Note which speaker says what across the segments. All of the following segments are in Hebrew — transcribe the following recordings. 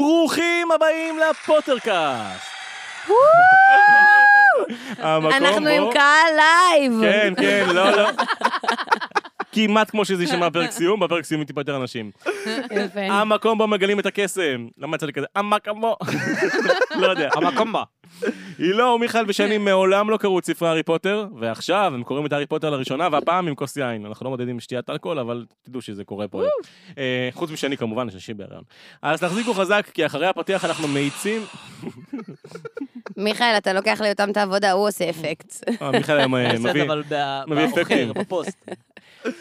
Speaker 1: ברוכים הבאים לפוטרקאסט. המקום
Speaker 2: אנחנו עם
Speaker 1: בו-
Speaker 2: קהל לייב.
Speaker 1: כן, כן, לא, לא. כמעט כמו שזה יישמע בפרק סיום, בפרק סיום עם טיפה יותר אנשים.
Speaker 2: יפה.
Speaker 1: המקום בו מגלים את הקסם. למה יצא לי כזה? המקומו. לא יודע.
Speaker 3: המקום בה.
Speaker 1: הילה ומיכל ושני מעולם לא קראו את ספרי הארי פוטר, ועכשיו הם קוראים את הארי פוטר לראשונה, והפעם עם כוס יין. אנחנו לא מודדים שתיית אלכוהול, אבל תדעו שזה קורה פה. אה, חוץ משני כמובן, שלישי בהריון. אז תחזיקו חזק, כי אחרי הפתיח אנחנו מאיצים...
Speaker 2: מיכאל, אתה לוקח לי אותם את העבודה, הוא עושה אפקט.
Speaker 1: אה, מיכאל היום אה,
Speaker 3: בסדר,
Speaker 1: מביא.
Speaker 3: אבל ב-
Speaker 1: מביא אפקטים.
Speaker 3: באוחר, בפוסט.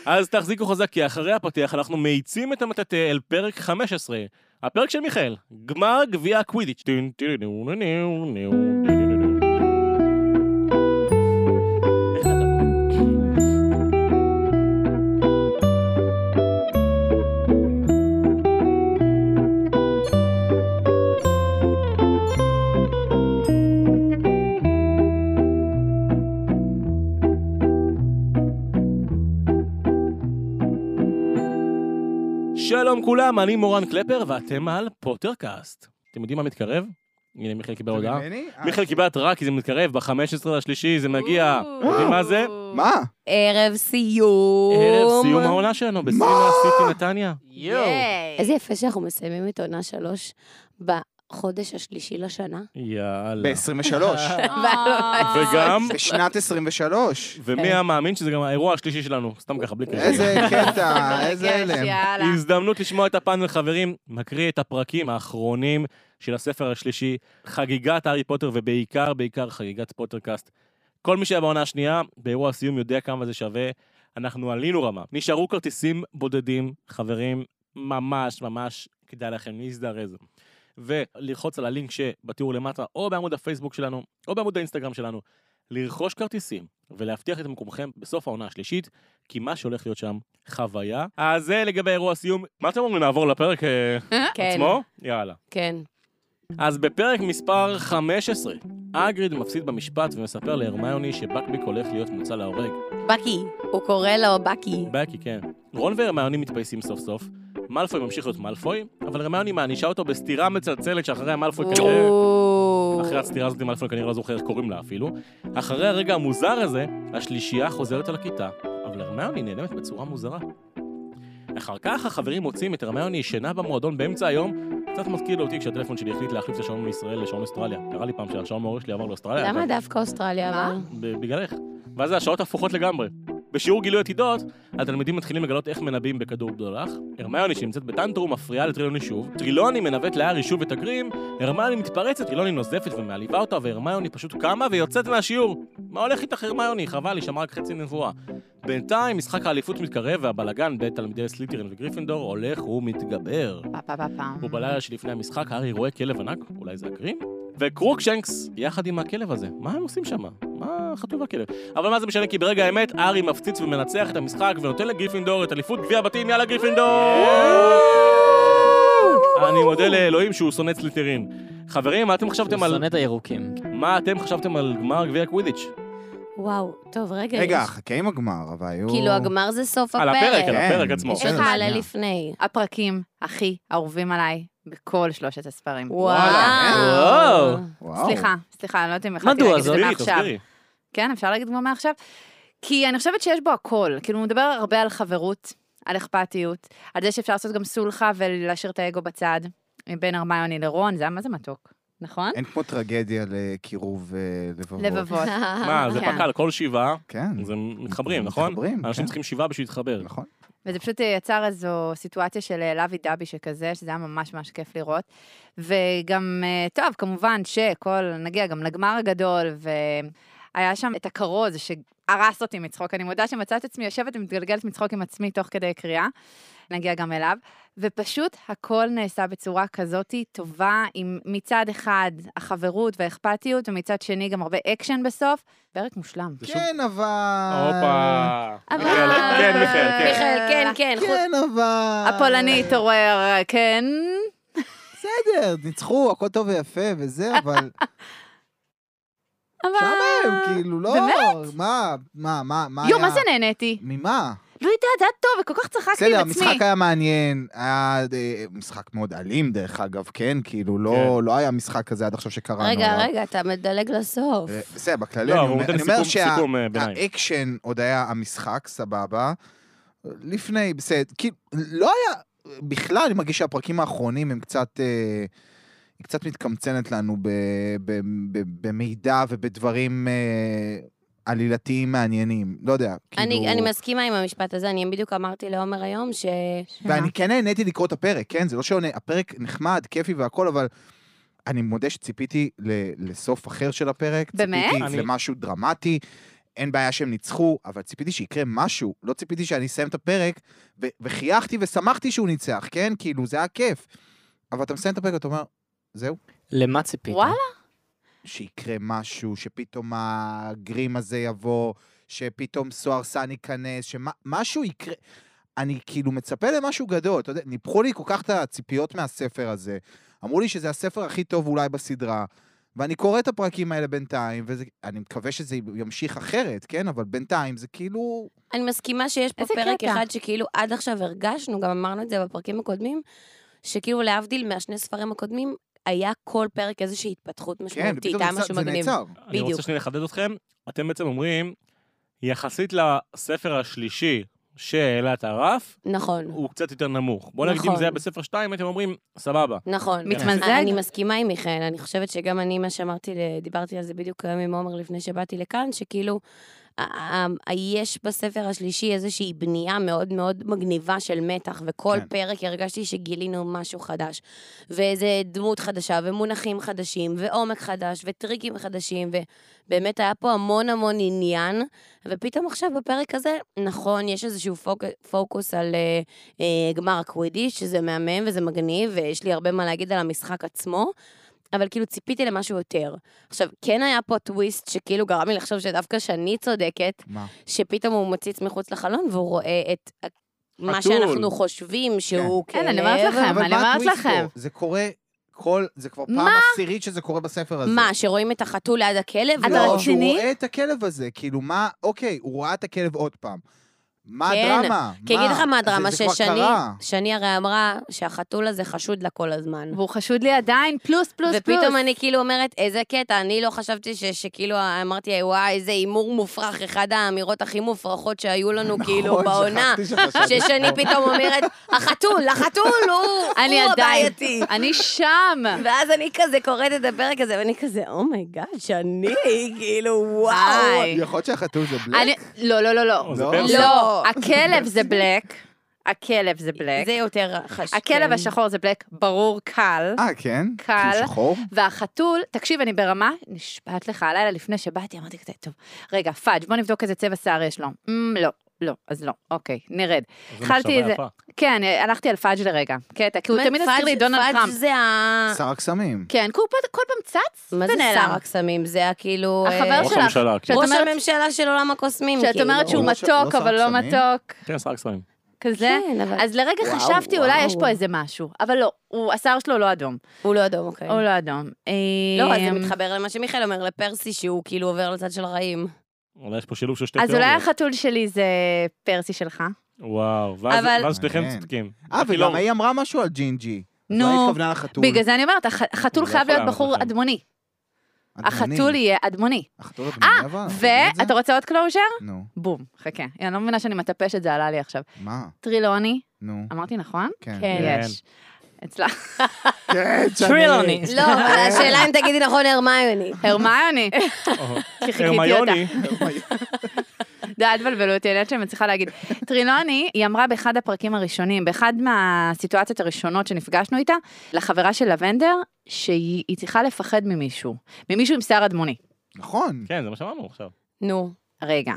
Speaker 1: אז תחזיקו חזק, כי אחרי הפתיח אנחנו מאיצים את המטאטא אל פרק 15. הפרק של מיכאל, גמר גביע הקווידיץ'. טין, טין, נו, נו, נו, נו, נו, נו, נו. שלום כולם, אני מורן קלפר, ואתם על פוטרקאסט. אתם יודעים מה מתקרב? הנה, מיכאל קיבל הודעה.
Speaker 4: ממני? אה,
Speaker 1: מיכאל קיבל התראה כי זה מתקרב, ב-15 לשלישי זה מגיע. יודעים מה זה?
Speaker 4: מה?
Speaker 2: ערב סיום.
Speaker 1: ערב סיום העונה שלנו בסימה סיטי נתניה.
Speaker 3: יואו.
Speaker 2: איזה יפה שאנחנו מסיימים את עונה שלוש בחודש השלישי לשנה.
Speaker 1: יאללה.
Speaker 4: ב-23.
Speaker 1: וגם,
Speaker 3: אה,
Speaker 4: בשנת 23.
Speaker 1: ומי
Speaker 3: כן.
Speaker 1: היה מאמין שזה גם האירוע השלישי שלנו, סתם ככה, בלי קשר.
Speaker 4: איזה קטע, איזה הלם.
Speaker 2: יאללה.
Speaker 1: הזדמנות לשמוע את הפאנל, חברים, מקריא את הפרקים האחרונים של הספר השלישי, חגיגת הארי פוטר, ובעיקר, בעיקר חגיגת פוטרקאסט. כל מי שהיה בעונה השנייה, באירוע הסיום יודע כמה זה שווה. אנחנו עלינו רמה. נשארו כרטיסים בודדים, חברים, ממש ממש כדאי לכם להזדרז. וללחוץ על הלינק שבתיאור למטה, או בעמוד הפייסבוק שלנו, או בעמוד האינסטגרם שלנו, לרכוש כרטיסים ולהבטיח את מקומכם בסוף העונה השלישית, כי מה שהולך להיות שם, חוויה. אז זה לגבי אירוע הסיום. מה אתם אומרים, נעבור לפרק אה,
Speaker 2: כן,
Speaker 1: עצמו? יאללה.
Speaker 2: כן.
Speaker 1: אז בפרק מספר 15, אגריד מפסיד במשפט ומספר להרמיוני שבקביק הולך להיות מוצא להורג.
Speaker 2: בקי, הוא קורא לו בקי.
Speaker 1: בקי, כן. רון והרמיוני מתפייסים סוף סוף. מאלפוי ממשיך להיות מאלפוי, אבל הרמיוני מענישה אותו בסטירה מצלצלת שאחריה מאלפוי כנראה...
Speaker 2: או.
Speaker 1: אוקיי. אחרי הסתירה הזאת מאלפוי כנראה לא זוכר איך קוראים לה אפילו. אחרי הרגע המוזר הזה, השלישייה חוזרת על הכיתה, אבל הרמיוני נעלמת בצורה מוזרה. אחר כך החברים מוצאים את הרמיוני ישנה במועדון באמצע היום, קצת מזכיר אותי כשהטלפון שלי החליט להחליף את השעון מישראל לשעון אוסטרליה. קרה לי פעם שהשעון מההורה שלי עבר לאוסטרליה.
Speaker 2: למה
Speaker 1: אבל-
Speaker 2: דווקא אוסטרליה
Speaker 5: מה?
Speaker 2: אבל?
Speaker 1: ב- בגללך. ואז השעות הפוכות לגמרי. בשיעור גילוי עתידות, התלמידים מתחילים לגלות איך מנבאים בכדור בדולח. הרמיוני שנמצאת בטנטרום מפריעה לטריליוני שוב. טרילוני מנווט להארי שוב את הגרים, הרמיוני מתפרצת, טרילוני נוזפת ומעליבה אותה, והרמיוני פשוט קמה ויוצאת מהשיעור. מה הולך איתך הרמיוני? חבל, היא שמעה רק חצי נבואה. בינתיים משחק האליפות מתקרב והבלגן בין תלמידי סליטרין וגריפינדור הולך ומתגבר.
Speaker 5: פה פה פה פה.
Speaker 1: ובלילה שלפני המשחק הארי רואה כלב ענק, אולי זה הגרים? וקרוקשנקס, יחד עם הכלב הזה, מה הם עושים שם? מה חטוב הכלב? אבל מה זה משנה, כי ברגע האמת, הארי מפציץ ומנצח את המשחק ונותן לגריפינדור את אליפות גביע הבתים, יאללה גריפינדור! אני מודה לאלוהים שהוא שונא סליטרין. חברים, מה אתם חשבתם
Speaker 3: הוא
Speaker 1: על...
Speaker 3: שונא את הירוקים.
Speaker 1: מה אתם חשבתם על גמר גביע קווידיץ'?
Speaker 2: וואו, טוב, רגע.
Speaker 4: רגע,
Speaker 2: יש-
Speaker 4: חכה עם הגמר, אבל היו...
Speaker 2: אוקיי. כאילו הגמר זה סוף
Speaker 1: על
Speaker 2: הפרק.
Speaker 1: הפרק, על
Speaker 4: כן,
Speaker 1: הפרק עצמו.
Speaker 2: יש עוד
Speaker 5: בסדר,
Speaker 2: מלא
Speaker 4: שנייה.
Speaker 2: לפני.
Speaker 5: הפרקים הכי אהובים עליי בכל שלושת הספרים.
Speaker 2: וואו.
Speaker 3: וואו.
Speaker 4: וואו.
Speaker 5: סליחה, סליחה, אני לא יודעת אם יכולתי
Speaker 3: מדוע?
Speaker 5: להגיד את זה
Speaker 3: תסבירי,
Speaker 5: מעכשיו. כן, אפשר להגיד כבר מעכשיו? כי אני חושבת שיש בו הכל. כאילו, הוא מדבר הרבה על חברות, על אכפתיות, על זה שאפשר לעשות גם סולחה ולהשאיר את האגו בצד. בין הרמיוני לרון, זה היה מה זה מתוק, נכון?
Speaker 4: אין כמו טרגדיה לקירוב אה, לבבות.
Speaker 5: לבבות.
Speaker 2: אה,
Speaker 1: מה, זה
Speaker 5: כן.
Speaker 1: פק"ל כל שבעה,
Speaker 4: כן.
Speaker 1: זה מתחברים, נכון?
Speaker 4: מתחברים,
Speaker 1: אנשים
Speaker 4: כן.
Speaker 1: צריכים שבעה בשביל להתחבר.
Speaker 4: נכון.
Speaker 5: וזה פשוט אה, יצר איזו סיטואציה של אה, לוי דבי שכזה, שזה היה ממש ממש כיף לראות. וגם, אה, טוב, כמובן שכל, נגיע גם לגמר הגדול, והיה שם את הכרוז שהרס אותי מצחוק. אני מודה שמצאת את עצמי יושבת ומתגלגלת מצחוק עם עצמי תוך כדי קריאה. נגיע גם אליו. ופשוט הכל נעשה בצורה כזאת טובה, עם מצד אחד החברות והאכפתיות, ומצד שני גם הרבה אקשן בסוף. פרק מושלם.
Speaker 1: זה שוב-
Speaker 4: כן, אבל...
Speaker 1: הופה.
Speaker 2: אבל-
Speaker 1: מיכאל, כן, מיכאל, כן.
Speaker 2: מיכאל, כן, כן. חוץ-
Speaker 4: כן, אבל...
Speaker 5: הפולני התעורר, כן.
Speaker 4: בסדר, ניצחו, הכל טוב ויפה וזה, אבל...
Speaker 5: אבל...
Speaker 4: שם הם, כאילו, לא...
Speaker 5: באמת?
Speaker 4: מה, מה, מה, מה היה?
Speaker 5: יואו, מה זה נהניתי?
Speaker 4: ממה?
Speaker 5: לא יודעת, זה היה טוב, וכל כך צחקתי
Speaker 4: בסדר,
Speaker 5: עם עצמי.
Speaker 4: המשחק היה מעניין, היה אה, משחק מאוד אלים דרך אגב, כן? כאילו, לא- לא היה משחק כזה עד עכשיו שקראנו.
Speaker 2: רגע,
Speaker 4: עליו.
Speaker 2: רגע, אתה מדלג לסוף.
Speaker 4: אה, בסדר, בכללי
Speaker 1: לא,
Speaker 4: אני
Speaker 1: אבל הוא
Speaker 4: אומר-
Speaker 1: נותן
Speaker 4: אני אומר
Speaker 1: סיכום-
Speaker 4: שה...
Speaker 1: סיכום אה, ביניים.
Speaker 4: האקשן עוד היה המשחק, סבבה. לפני, בסדר, כאילו, לא היה, בכלל, אני מרגיש שהפרקים האחרונים הם קצת, אה, היא קצת מתקמצנת לנו ב, ב, ב, במידע ובדברים אה, עלילתיים מעניינים, לא יודע, כאילו...
Speaker 2: אני אני מסכימה עם המשפט הזה, אני בדיוק אמרתי לעומר היום ש...
Speaker 4: ואני כן נהניתי לקרוא את הפרק, כן? זה לא שעונה, הפרק נחמד, כיפי והכל, אבל אני מודה שציפיתי ל, לסוף אחר של הפרק.
Speaker 5: באמת?
Speaker 4: ציפיתי
Speaker 1: אני-
Speaker 4: למשהו דרמטי. אין בעיה שהם ניצחו, אבל ציפיתי שיקרה משהו. לא ציפיתי שאני אסיים את הפרק, ו- וחייכתי ושמחתי שהוא ניצח, כן? כאילו, זה היה כיף. אבל אתה מסיים את הפרק ואתה אומר, זהו,
Speaker 3: למה ציפית?
Speaker 5: וואלה.
Speaker 4: שיקרה משהו, שפתאום הגרים הזה יבוא, שפתאום סוהר סאן ייכנס, שמשהו יקרה. אני כאילו מצפה למשהו גדול, אתה יודע, ניפחו לי כל כך את הציפיות מהספר הזה. אמרו לי שזה הספר הכי טוב אולי בסדרה, ואני קורא את הפרקים האלה בינתיים, ואני מקווה שזה ימשיך אחרת, כן? אבל בינתיים זה כאילו...
Speaker 2: אני מסכימה שיש פה
Speaker 5: איזה
Speaker 2: פרק
Speaker 5: קטע.
Speaker 2: אחד שכאילו עד עכשיו הרגשנו, גם אמרנו את זה בפרקים הקודמים, שכאילו להבדיל מהשני ספרים הקודמים, היה כל פרק איזושהי התפתחות
Speaker 4: כן,
Speaker 2: משמעותית,
Speaker 4: ופתאום
Speaker 2: היה
Speaker 4: זה נעצר-
Speaker 2: משהו
Speaker 4: זה
Speaker 2: מגניב.
Speaker 4: נעצר.
Speaker 1: אני רוצה
Speaker 2: בדיוק.
Speaker 1: שנייה לחדד אתכם. אתם בעצם אומרים, יחסית לספר השלישי שהעלה את הרף,
Speaker 2: נכון,
Speaker 1: הוא קצת יותר נמוך. בוא נגיד, אם
Speaker 2: נכון.
Speaker 1: זה היה בספר 2, הייתם אומרים, סבבה.
Speaker 2: נכון.
Speaker 5: מתמזג?
Speaker 2: אני מסכימה עם מיכאל, אני חושבת שגם אני, מה שאמרתי, ל- דיברתי על זה בדיוק היום עם עומר לפני שבאתי לכאן, שכאילו, ה- ה- ה- יש בספר השלישי איזושהי בנייה מאוד מאוד מגניבה של מתח, וכל
Speaker 4: כן.
Speaker 2: פרק הרגשתי שגילינו משהו חדש. ואיזה דמות חדשה, ומונחים חדשים, ועומק חדש, וטריקים חדשים, ובאמת היה פה המון המון עניין. ופתאום עכשיו בפרק הזה, נכון, יש איזשהו פוק, פוקוס על אה, אה, גמר הקווידיש, שזה מהמם וזה מגניב, ויש לי הרבה מה להגיד על המשחק עצמו, אבל כאילו ציפיתי למשהו יותר. עכשיו, כן היה פה טוויסט שכאילו גרם לי לחשוב שדווקא שאני צודקת,
Speaker 4: מה?
Speaker 2: שפתאום הוא מציץ מחוץ לחלון והוא רואה את ה- מה
Speaker 1: חתול.
Speaker 2: שאנחנו חושבים שהוא
Speaker 5: כן,
Speaker 2: כלב.
Speaker 5: אני אומרת לכם.
Speaker 4: אבל
Speaker 5: אני
Speaker 4: מה
Speaker 5: אומרת
Speaker 4: הטוויסט
Speaker 5: לכם.
Speaker 4: פה? זה קורה כל... זה כבר פעם
Speaker 5: מה?
Speaker 4: עשירית שזה קורה בספר הזה.
Speaker 2: מה, שרואים את החתול ליד הכלב?
Speaker 5: אתה
Speaker 4: לא, שהוא
Speaker 5: רציני?
Speaker 4: רואה את הכלב הזה, כאילו מה, אוקיי, הוא ראה את הכלב עוד פעם. מה
Speaker 2: כן,
Speaker 4: הדרמה?
Speaker 2: כי אגיד לך מה הדרמה,
Speaker 4: זה- זה כבר
Speaker 2: ששני,
Speaker 4: קרה.
Speaker 2: שני הרי אמרה שהחתול הזה חשוד לה כל הזמן.
Speaker 5: והוא חשוד לי עדיין, פלוס, פלוס, פלוס.
Speaker 2: ופתאום אני כאילו אומרת, איזה קטע, אני לא חשבתי ש, שכאילו, אמרתי, וואי, איזה הימור מופרך, אחד האמירות הכי מופרכות שהיו לנו כאילו
Speaker 4: נכון,
Speaker 2: בעונה.
Speaker 4: שכחתי שחשבתי
Speaker 2: ששני
Speaker 4: פה.
Speaker 2: פתאום אומרת, החתול, החתול, הוא,
Speaker 5: אני
Speaker 2: הוא
Speaker 5: עדיין.
Speaker 2: הבעייתי.
Speaker 5: אני שם.
Speaker 2: ואז אני כזה קוראת את הפרק הזה, ואני כזה, אומייגאד, שאני, כאילו, וואו.
Speaker 5: היי.
Speaker 4: יכול להיות שהחתול זה בלק?
Speaker 5: אני- לא, לא, לא, לא.
Speaker 1: או, זה
Speaker 4: לא.
Speaker 1: פרסי.
Speaker 5: לא, הכלב זה בלק. הכלב זה בלק.
Speaker 2: זה יותר חשוב. כן.
Speaker 5: הכלב השחור זה בלק, ברור, קל.
Speaker 4: אה, כן?
Speaker 5: קל.
Speaker 4: שהוא שחור?
Speaker 5: והחתול, תקשיב, אני ברמה, נשבעת לך, הלילה לפני שבאתי, אמרתי כזה, טוב, רגע, פאג', בוא נבדוק איזה צבע שיער יש לו. "אמ, לא, לא, אז לא, אוקיי, נרד.
Speaker 1: זו
Speaker 5: התחלתי
Speaker 1: מחשבה
Speaker 5: את זה.
Speaker 1: יפה.
Speaker 5: כן, הלכתי על פאג' לרגע. קטע, כי הוא
Speaker 2: באמת,
Speaker 5: תמיד הזכיר לי
Speaker 2: פאג'-
Speaker 5: דונלד
Speaker 2: פאג'
Speaker 5: טראמפ.
Speaker 2: זה ה...
Speaker 4: שר הקסמים.
Speaker 5: כן, כי הוא פה- כל פעם צץ
Speaker 2: מה זה שר
Speaker 5: ונעלם.
Speaker 2: הקסמים? זה הכאילו...
Speaker 5: החבר
Speaker 2: אה,
Speaker 1: ראש
Speaker 5: שלך,
Speaker 1: הממשלה, כן.
Speaker 5: שאת
Speaker 2: ראש
Speaker 5: אומרת-
Speaker 2: הממשלה של עולם הקוסמים, כאילו.
Speaker 5: שאת אומרת שהוא
Speaker 4: לא ש- לא
Speaker 5: מתוק,
Speaker 4: שר
Speaker 5: אבל לא
Speaker 4: קסמים?
Speaker 5: מתוק,
Speaker 1: כן, שר הקסמים.
Speaker 5: כזה.
Speaker 2: כן, אבל...
Speaker 5: אז לרגע
Speaker 4: וואו,
Speaker 5: חשבתי, אולי יש פה
Speaker 2: וואו.
Speaker 5: איזה משהו, אבל לא, הוא- השיער שלו לא אדום.
Speaker 2: הוא לא אדום, אוקיי.
Speaker 5: הוא לא אדום.
Speaker 2: לא, אז
Speaker 5: אמ,
Speaker 2: זה מתחבר למה שמיכאל אומר, לפרסי שהוא כאילו עובר לצד של רעים.
Speaker 1: אולי יש פה שילוב של שתי
Speaker 5: אז לא אולי
Speaker 1: תיאוריות.
Speaker 5: החתול שלי זה פרסי שלך.
Speaker 1: וואו, ואז
Speaker 2: אבל-
Speaker 1: ואז שניכם
Speaker 4: מעניין.
Speaker 1: צודקים.
Speaker 4: אה,
Speaker 1: כי
Speaker 4: וגם
Speaker 1: לא-
Speaker 4: היא אמרה משהו על ג'ינג'י. אז
Speaker 5: נו,
Speaker 4: אולי היא התכוונה לחתול.
Speaker 5: בגלל זה אני אומרת, הח- החתול
Speaker 1: אני לא
Speaker 5: חייב
Speaker 1: יכול
Speaker 5: להיות
Speaker 1: לענות
Speaker 5: בחור
Speaker 1: לכם.
Speaker 5: אדמוני.
Speaker 4: אדמוני.
Speaker 5: החתול יהיה אדמוני.
Speaker 4: החתול
Speaker 2: אה,
Speaker 4: אדמוני אבל. אנחנו יודעים אה, את זה?
Speaker 5: ואתה רוצה עוד קלוז'ר?
Speaker 4: נו,
Speaker 5: בום, חכה. אני לא מבינה שאני מטפשת, זה עלה לי עכשיו.
Speaker 4: מה?
Speaker 5: טרילוני,
Speaker 4: נו,
Speaker 5: אמרתי נכון?
Speaker 4: כן.
Speaker 2: אמ- כן.
Speaker 5: יש. אצלך.
Speaker 4: כן, שני.
Speaker 3: טרילוני.
Speaker 2: לא, אבל השאלה אם תגידי נכון הרמיוני.
Speaker 5: הרמיוני.
Speaker 1: אוהו.
Speaker 5: כי חיכיתי אותה.
Speaker 1: הרמיוני,
Speaker 5: די, אל תבלבלו אותי, אני יודעת שאני מצליחה להגיד. טרילוני, היא אמרה באחד הפרקים הראשונים, באחד מהסיטואציות הראשונות שנפגשנו איתה, לחברה של לבנדר, שהיא היא צריכה לפחד ממישהו. ממישהו עם שיער אדמוני.
Speaker 4: נכון.
Speaker 1: כן, זה מה שאמרנו עכשיו.
Speaker 2: נו.
Speaker 5: רגע.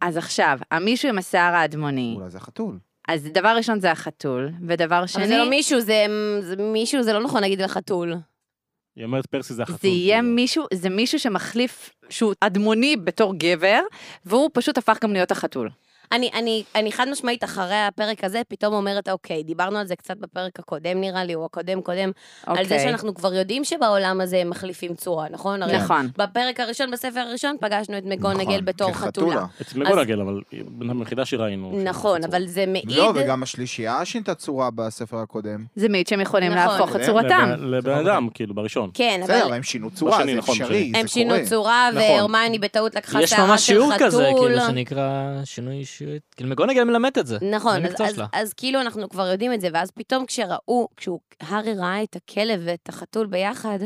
Speaker 5: אז עכשיו, המישהו עם השיער
Speaker 2: כן.
Speaker 5: האדמוני,
Speaker 4: אולי זה החתול.
Speaker 5: אז דבר ראשון זה החתול, ודבר
Speaker 2: אבל זה
Speaker 5: שני,
Speaker 2: לא מישהו, זה זה מישהו, זה לא נכון להגיד על חתול.
Speaker 1: היא אומרת פרסי זה החתול.
Speaker 5: זה יהיה
Speaker 1: כאילו.
Speaker 5: מישהו, זה מישהו שמחליף, שהוא אדמוני בתור גבר, והוא פשוט הפך גם להיות החתול.
Speaker 2: אני, אני, אני חד משמעית, אחרי הפרק הזה, פתאום אומרת, אוקיי, דיברנו על זה קצת בפרק הקודם, נראה לי, או הקודם-קודם, על זה
Speaker 5: אוקיי.
Speaker 2: שאנחנו כבר יודעים שבעולם הזה הם מחליפים צורה, נכון? הרי
Speaker 5: נכון.
Speaker 2: בפרק הראשון, בספר הראשון, פגשנו את מגונגל
Speaker 4: נכון,
Speaker 2: בתור חתולה.
Speaker 1: את מגונגל, אבל היא הבן אדם היחידה שראינו.
Speaker 2: נכון, אבל זה מעיד...
Speaker 4: לא, וגם השלישייה שינתה צורה בספר הקודם.
Speaker 5: זה מעיד שהם יכולים
Speaker 2: נכון.
Speaker 5: להפוך את
Speaker 4: לבן-
Speaker 5: צורתם.
Speaker 1: לבן- לבן אדם, כאילו, בראשון.
Speaker 2: כן, אבל...
Speaker 4: בסדר, הם שינו צורה,
Speaker 1: בשני,
Speaker 4: זה
Speaker 1: נכון, בשני.
Speaker 4: אפשרי,
Speaker 2: הם
Speaker 4: זה
Speaker 2: שינו
Speaker 4: קורה.
Speaker 2: צורה,
Speaker 1: נכון.
Speaker 2: והרמיוני בטעות לקחה
Speaker 3: יש
Speaker 2: שערה
Speaker 3: ממש
Speaker 2: של
Speaker 3: שיעור
Speaker 2: חתול.
Speaker 3: כזה, כאילו, שנקרא שינוי אישיות. כאילו, מגונגל מלמד את זה.
Speaker 2: נכון,
Speaker 3: זה
Speaker 2: אז,
Speaker 3: מקצוע
Speaker 2: אז,
Speaker 3: שלה.
Speaker 2: אז כאילו אנחנו כבר יודעים את זה, ואז פתאום כשראו, כשהארי ראה את הכלב ואת החתול ביחד,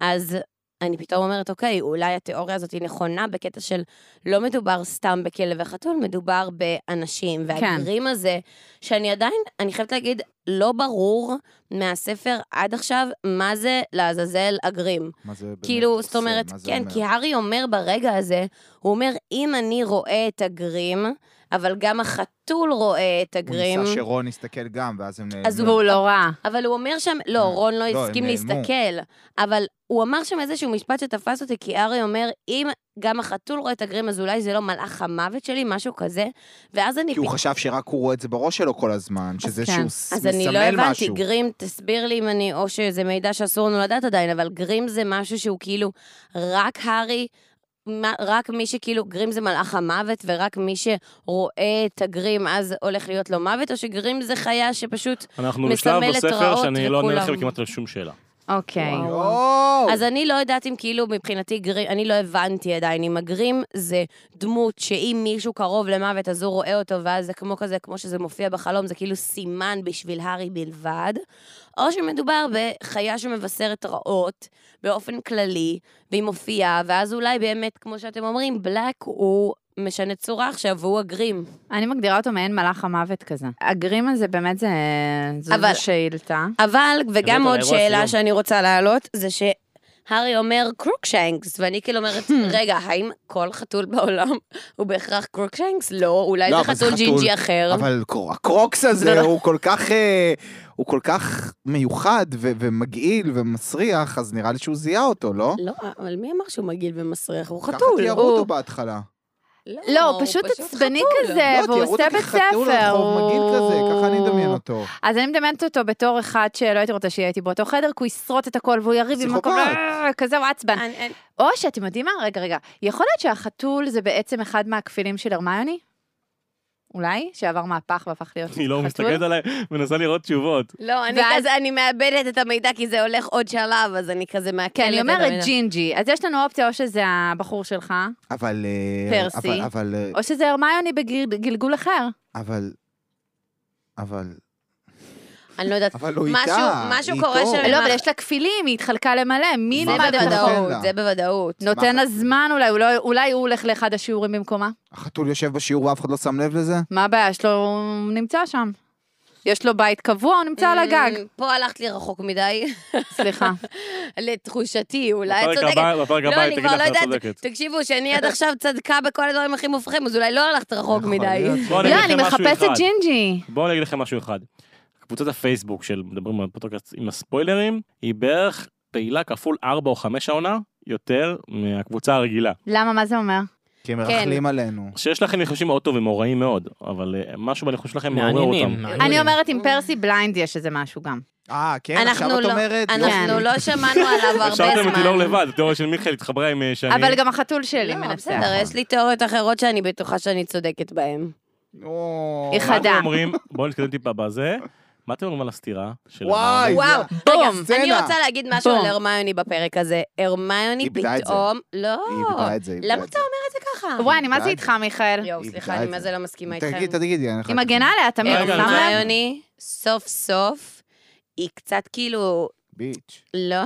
Speaker 2: אז אני פתאום אומרת, אוקיי, אולי התיאוריה הזאת היא נכונה בקטע של לא מדובר סתם בכלב וחתול, מדובר באנשים.
Speaker 3: כן.
Speaker 2: והגרים הזה, שאני עדיין, אני חייבת להגיד, לא ברור מהספר עד עכשיו מה זה לעזאזל הגרים.
Speaker 4: מה זה באמת
Speaker 2: כאילו,
Speaker 4: עושה?
Speaker 2: זאת אומרת,
Speaker 4: מה זה
Speaker 2: כן,
Speaker 4: אומר?
Speaker 2: כי הארי אומר ברגע הזה, הוא אומר, אם אני רואה את הגרים, אבל גם החתול רואה את
Speaker 4: הוא
Speaker 2: הגרים,
Speaker 4: ניסה שרון יסתכל גם, ואז הם נעלמו.
Speaker 2: אז
Speaker 5: והוא לא רע.
Speaker 2: אבל הוא אומר שם, לא,
Speaker 4: אה,
Speaker 2: רון לא
Speaker 4: לא, הם
Speaker 2: הסכים
Speaker 4: נעלמו.
Speaker 2: להסתכל, אבל הוא אמר שם איזשהו משפט שתפס אותי, כי הארי אומר, אם גם החתול רואה את הגרים, אז אולי זה לא מלאך המוות שלי, משהו כזה, ואז אני...
Speaker 4: כי הוא
Speaker 2: פת-
Speaker 4: חשב שרק הוא רואה את זה בראש שלו כל הזמן, שזה
Speaker 5: כן.
Speaker 4: שהוא ס-
Speaker 2: אז אני לא
Speaker 4: מסמל
Speaker 2: הבנתי,
Speaker 4: משהו.
Speaker 2: גרים, תסביר לי אם אני, או שזה מידע שאסור לנו לדעת עדיין, אבל גרים זה משהו שהוא כאילו, רק הארי, מה- רק מי שכאילו, גרים זה מלאך המוות, ורק מי שרואה את הגרים אז הולך להיות לו מוות, או שגרים זה חיה שפשוט...
Speaker 1: אנחנו בשלב
Speaker 2: מסמלת
Speaker 1: בספר
Speaker 2: רעות
Speaker 1: שאני לא עונה
Speaker 2: לכולם.
Speaker 1: לכם כמעט על שום שאלה.
Speaker 5: אוקיי.
Speaker 2: וואו.
Speaker 4: יואו!
Speaker 2: אז אני לא יודעת אם כאילו מבחינתי גרים, אני לא הבנתי עדיין אם הגרים זה דמות שאם מישהו קרוב למוות אז הוא רואה אותו ואז זה כמו כזה, כמו שזה מופיע בחלום, זה כאילו סימן בשביל הארי בלבד, או שמדובר בחיה שמבשרת רעות באופן כללי, והיא מופיעה, ואז אולי באמת, כמו שאתם אומרים, בלק הוא משנה צורה עכשיו והוא הגרים.
Speaker 5: אני מגדירה אותו מעין מלאך המוות כזה. הגרים הזה באמת זה... זו
Speaker 2: אבל-
Speaker 5: אבל... שאילתה.
Speaker 2: אבל,
Speaker 3: הבאת
Speaker 2: וגם עוד
Speaker 3: לאירוע
Speaker 2: שאלה
Speaker 3: סיום.
Speaker 2: שאני רוצה להעלות, זה שהארי אומר קרוקשנקס, ואני כאילו אומרת, רגע, האם כל חתול בעולם הוא בהכרח קרוקשנקס? לא, אולי
Speaker 4: לא,
Speaker 2: זה
Speaker 4: אבל זה
Speaker 2: חתול
Speaker 4: חתול.
Speaker 2: ג'ינג'י אחר.
Speaker 4: אבל קור- הקרוקס
Speaker 2: לא-
Speaker 4: הזה הוא כל כך... אה, הוא כל כך מיוחד ו- ומגעיל ומסריח, אז נראה לי שהוא זיהה אותו, לא?
Speaker 2: לא, אבל מי אמר שהוא מגעיל ומסריח? הוא
Speaker 4: ככה
Speaker 2: חתול.
Speaker 4: תיארו אותו בהתחלה.
Speaker 5: לא, הוא
Speaker 2: הוא
Speaker 5: פשוט עצבני
Speaker 2: חתול.
Speaker 5: כזה,
Speaker 4: לא,
Speaker 5: והוא
Speaker 4: תיארו אותו
Speaker 5: עושה בית
Speaker 4: כחתול
Speaker 5: ספר.
Speaker 4: רחוב מגעיל כזה,
Speaker 5: הוא-
Speaker 4: ככה אני מדמיין אותו.
Speaker 5: אז אני מדמיינת אותו בתור אחד שלא הייתי רוצה שיהיה איתי באותו חדר, כי הוא ישרוט את הכל והוא יריב עם הכל,
Speaker 4: פסיכופת.
Speaker 5: אה, כזה הוא עצבן.
Speaker 2: אני- אני-
Speaker 5: או שאתם יודעים מה? רגע, רגע. יכול להיות שהחתול זה בעצם אחד מהכפילים של הרמיוני? אולי? שעבר מהפך והפך להיות חתול?
Speaker 1: היא לא מסתכלת עליי, מנסה לראות תשובות.
Speaker 2: לא, אני
Speaker 5: ואז-
Speaker 2: כזה, אני מאבדת את המידע כי זה הולך עוד שלב, אז אני כזה מעכלת.
Speaker 5: כן, אני
Speaker 2: את
Speaker 5: אומרת
Speaker 2: המידע.
Speaker 5: ג'ינג'י. אז יש לנו אופציה, או שזה הבחור שלך,
Speaker 4: אבל... אה,
Speaker 5: פרסי.
Speaker 4: אבל- אבל... אה,
Speaker 5: או שזה הרמיוני בגלגול אחר.
Speaker 4: אבל... אבל...
Speaker 2: אני לא יודעת.
Speaker 4: אבל הוא
Speaker 2: משהו-
Speaker 4: איתה.
Speaker 2: משהו
Speaker 4: היא
Speaker 2: קורה
Speaker 4: איתו.
Speaker 2: שם.
Speaker 5: לא,
Speaker 2: מה-
Speaker 5: אבל יש לה כפילים, היא התחלקה למלא. מי
Speaker 2: זה
Speaker 4: מה
Speaker 5: לימד את
Speaker 4: אתה
Speaker 5: החוק?
Speaker 4: נותן
Speaker 2: בוודאות,
Speaker 4: לה?
Speaker 2: זה בוודאות.
Speaker 5: נותן לה
Speaker 4: מה-
Speaker 5: זמן אולי, אולי, אולי הוא הולך לאחד השיעורים במקומה.
Speaker 4: החתול יושב בשיעור ואף אחד לא שם לב לזה?
Speaker 5: מה הבעיה שלו? הוא נמצא שם. יש לו בית קבוע, הוא נמצא על הגג.
Speaker 2: אמ, פה הלכת לי רחוק מדי.
Speaker 5: סליחה.
Speaker 2: לתחושתי, אולי את
Speaker 1: בפרק
Speaker 2: צודקת.
Speaker 1: הבא- בפרק
Speaker 2: לא,
Speaker 1: הבא היא
Speaker 2: אני
Speaker 1: תגיד
Speaker 2: כבר
Speaker 1: לך
Speaker 2: לא
Speaker 1: שאת
Speaker 2: יודעת.
Speaker 1: צודקת.
Speaker 2: תקשיבו, שאני עד עכשיו צדקה בכל הדברים הכי מופרכים, אז אולי לא הלכת רחוק
Speaker 4: יכול
Speaker 2: מדי.
Speaker 4: להיות.
Speaker 1: בואו אני
Speaker 5: לא,
Speaker 1: אגיד
Speaker 5: אני
Speaker 1: לכם משהו
Speaker 5: מחפשת
Speaker 1: אחד.
Speaker 5: ג'ינג'י.
Speaker 1: בואו אני אגיד לכם משהו אחד. קבוצת הפייסבוק של מדברים על פודקאסט עם הספוילרים, היא בערך פעילה כפול 4 או 5 העונה יותר מהקבוצה הרגילה.
Speaker 5: למה, מה זה אומר?
Speaker 4: כי
Speaker 2: כן.
Speaker 4: הם מרכלים עלינו.
Speaker 1: שיש לכם ניחושים מאוד טובים, הם רעים מאוד, אבל אה, משהו בניחוש שלכם מעורר
Speaker 3: מעניינים,
Speaker 1: אותם.
Speaker 3: מעניינים.
Speaker 5: אני אומרת, עם פרסי בליינד יש איזה משהו גם.
Speaker 4: אה, כן,
Speaker 2: אנחנו
Speaker 4: עכשיו את
Speaker 2: לא-
Speaker 4: אומרת?
Speaker 2: אנחנו
Speaker 5: כן.
Speaker 2: לא שמענו עליו הרבה זמן.
Speaker 1: השארתם אותי לא לבד, התיאוריה של מיכאל התחברה עם אה, שאני...
Speaker 5: אבל גם החתול שלי
Speaker 2: לא,
Speaker 5: מנסה.
Speaker 2: בסדר, יש לי תיאוריות אחרות שאני בטוחה שאני צודקת בהן. לא-
Speaker 4: או.
Speaker 5: איך
Speaker 1: מה אתם
Speaker 5: חדה.
Speaker 1: אומרים, בואו נתקדם טיפה בזה, מה אתם אומרים על הסתירה? של
Speaker 4: וואי,
Speaker 1: המעמד?
Speaker 2: וואו,
Speaker 5: בום,
Speaker 2: רגע, אני
Speaker 4: סצנה.
Speaker 2: רוצה להגיד משהו
Speaker 5: בום.
Speaker 2: על הרמיוני בפרק הזה. הרמיוני
Speaker 4: איבדה את זה.
Speaker 2: פתאום... לא.
Speaker 4: היא איבדה את זה, איבדה
Speaker 2: למה
Speaker 4: את
Speaker 2: אתה
Speaker 4: זה.
Speaker 2: אומר את זה ככה?
Speaker 5: וואי, אני מה זה
Speaker 4: די.
Speaker 5: איתך, מיכאל?
Speaker 2: יואו,
Speaker 4: היא
Speaker 2: סליחה,
Speaker 4: איבדה
Speaker 2: אני
Speaker 4: את
Speaker 2: מה
Speaker 4: זה.
Speaker 2: זה לא מסכימה איתכם.
Speaker 4: תגיד, תגידי. אני
Speaker 5: היא
Speaker 4: חייב-
Speaker 5: מגנה עליה, תמיד.
Speaker 1: רגע,
Speaker 5: שם לב?
Speaker 2: הרמיוני, סוף סוף, היא קצת כאילו...
Speaker 4: ביץ'.
Speaker 2: לא.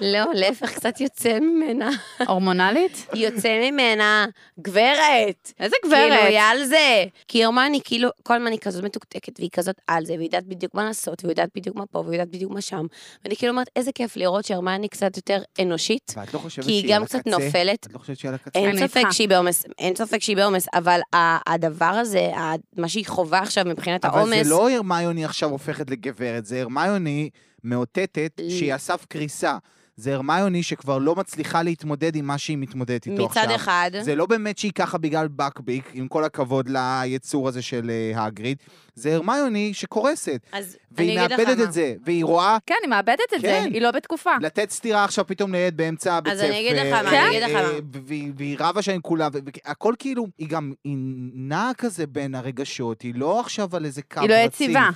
Speaker 2: לא, להפך, קצת יוצא ממנה.
Speaker 5: הורמונלית?
Speaker 2: יוצא ממנה, גברת.
Speaker 5: איזה
Speaker 2: כאילו, היא
Speaker 5: גברת.
Speaker 2: על זה. כי הרמני, כאילו, כל הזמן היא כזאת מתוקתקת, והיא כזאת על זה, והיא יודעת בדיוק מה לעשות, והיא יודעת בדיוק מה פה, והיא יודעת בדיוק מה שם. ואני כאילו אומרת, איזה כיף לראות שהרמני קצת יותר אנושית,
Speaker 4: ואת לא חושבת
Speaker 2: כי
Speaker 4: שהיא
Speaker 2: היא גם
Speaker 4: על
Speaker 2: קצת
Speaker 4: הקצה?
Speaker 2: נופלת. אה,
Speaker 4: את לא חושבת שהיא על הקצה?
Speaker 2: אין
Speaker 5: אני
Speaker 2: ספק
Speaker 5: איתך.
Speaker 2: שהיא בעומס, אין ספק שהיא בעומס, אבל ה- הדבר הזה, ה- מה שהיא חווה עכשיו מבחינת העומס...
Speaker 4: אבל זה לא הרמיוני עכשיו הופכת לגברת, זה הרמיוני מאותתת שהיא על סף קריסה. זה הרמיוני שכבר לא מצליחה להתמודד עם מה שהיא מתמודדת איתו עכשיו.
Speaker 2: מצד אחד,
Speaker 4: זה לא באמת שהיא ככה בגלל בקביק, עם כל הכבוד ליצור הזה של אה, הגריד, זה הרמיוני שקורסת,
Speaker 2: אז אני
Speaker 4: והיא
Speaker 2: אגיד לך
Speaker 4: מאבדת
Speaker 2: מה.
Speaker 4: את זה, והיא רואה
Speaker 5: כן, היא מאבדת את זה,
Speaker 4: כן.
Speaker 5: היא לא בתקופה.
Speaker 4: לתת סטירה עכשיו פתאום לילד באמצע הבית ספר.
Speaker 2: אני אגיד לך מה, אני
Speaker 4: אה,
Speaker 2: אגיד לך
Speaker 4: אה,
Speaker 2: מה.
Speaker 4: ו- והיא- והיא רבה שם עם כולם, והכל כאילו, היא גם, היא נעה כזה בין הרגשות, היא לא עכשיו על איזה קו
Speaker 5: היא לא
Speaker 4: רציף.
Speaker 5: יציבה.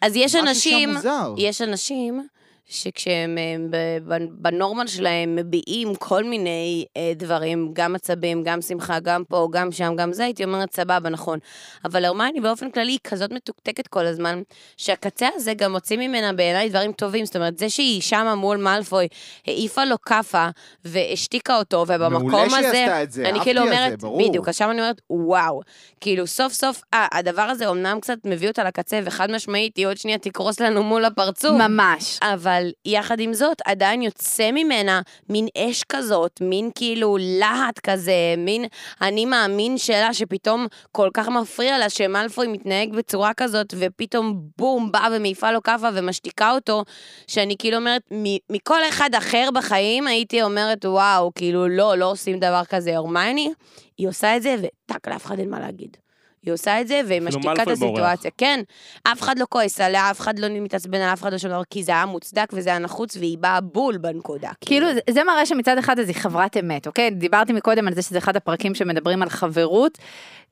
Speaker 2: אז יש אנשים,
Speaker 4: משהו שם מוזר.
Speaker 2: יש אנשים שכשהם אה, ב- ב- בנורמל שלהם מביעים כל מיני אה, דברים, גם עצבים, גם שמחה, גם פה, גם שם, גם זה, הייתי אומרת, סבבה, נכון. אבל הרמני באופן כללי היא כזאת מתוקתקת כל הזמן, שהקצה הזה גם מוציא ממנה בעיניי דברים טובים. זאת אומרת, זה שהיא שמה מול מאלפוי, העיפה לו כאפה והשתיקה אותו, ובמקום הזה...
Speaker 4: מעולה שהיא עשתה את זה,
Speaker 2: אני
Speaker 4: אהבתי
Speaker 2: כאילו
Speaker 4: על זה,
Speaker 2: אומרת,
Speaker 4: ברור.
Speaker 2: בדיוק, אז שם אני אומרת, וואו. כאילו, סוף סוף, אה, הדבר הזה אומנם קצת מביא אותה לקצה, וחד משמעית, היא עוד שנייה תקרוס לנו מול הפרצוף.
Speaker 5: ממש.
Speaker 2: אבל יחד עם זאת, עדיין יוצא ממנה מין אש כזאת, מין כאילו להט כזה, מין אני מאמין שלה שפתאום כל כך מפריע לה שמאלפוי מתנהג בצורה כזאת, ופתאום בום, באה ומעיפה לו כאפה ומשתיקה אותו, שאני כאילו אומרת, מ- מכל אחד אחר בחיים הייתי אומרת, וואו, כאילו לא, לא עושים דבר כזה. הרמייני, היא עושה את זה, וטאק, לאף אחד אין מה להגיד. היא עושה את זה, והיא
Speaker 1: אפילו
Speaker 2: משתיקה את
Speaker 1: מאלפוי בורח.
Speaker 2: הסיטואציה. כן, אף אחד לא כועס עליה, אף אחד לא מתעצבן עליה, אף אחד לא שום דבר, כי זה היה מוצדק וזה היה נחוץ, והיא באה בול בנקודה.
Speaker 5: כאילו, זה- זה מראה שמצד אחד אז היא חברת אמת, אוקיי? דיברתי מקודם על זה שזה אחד הפרקים שמדברים על חברות,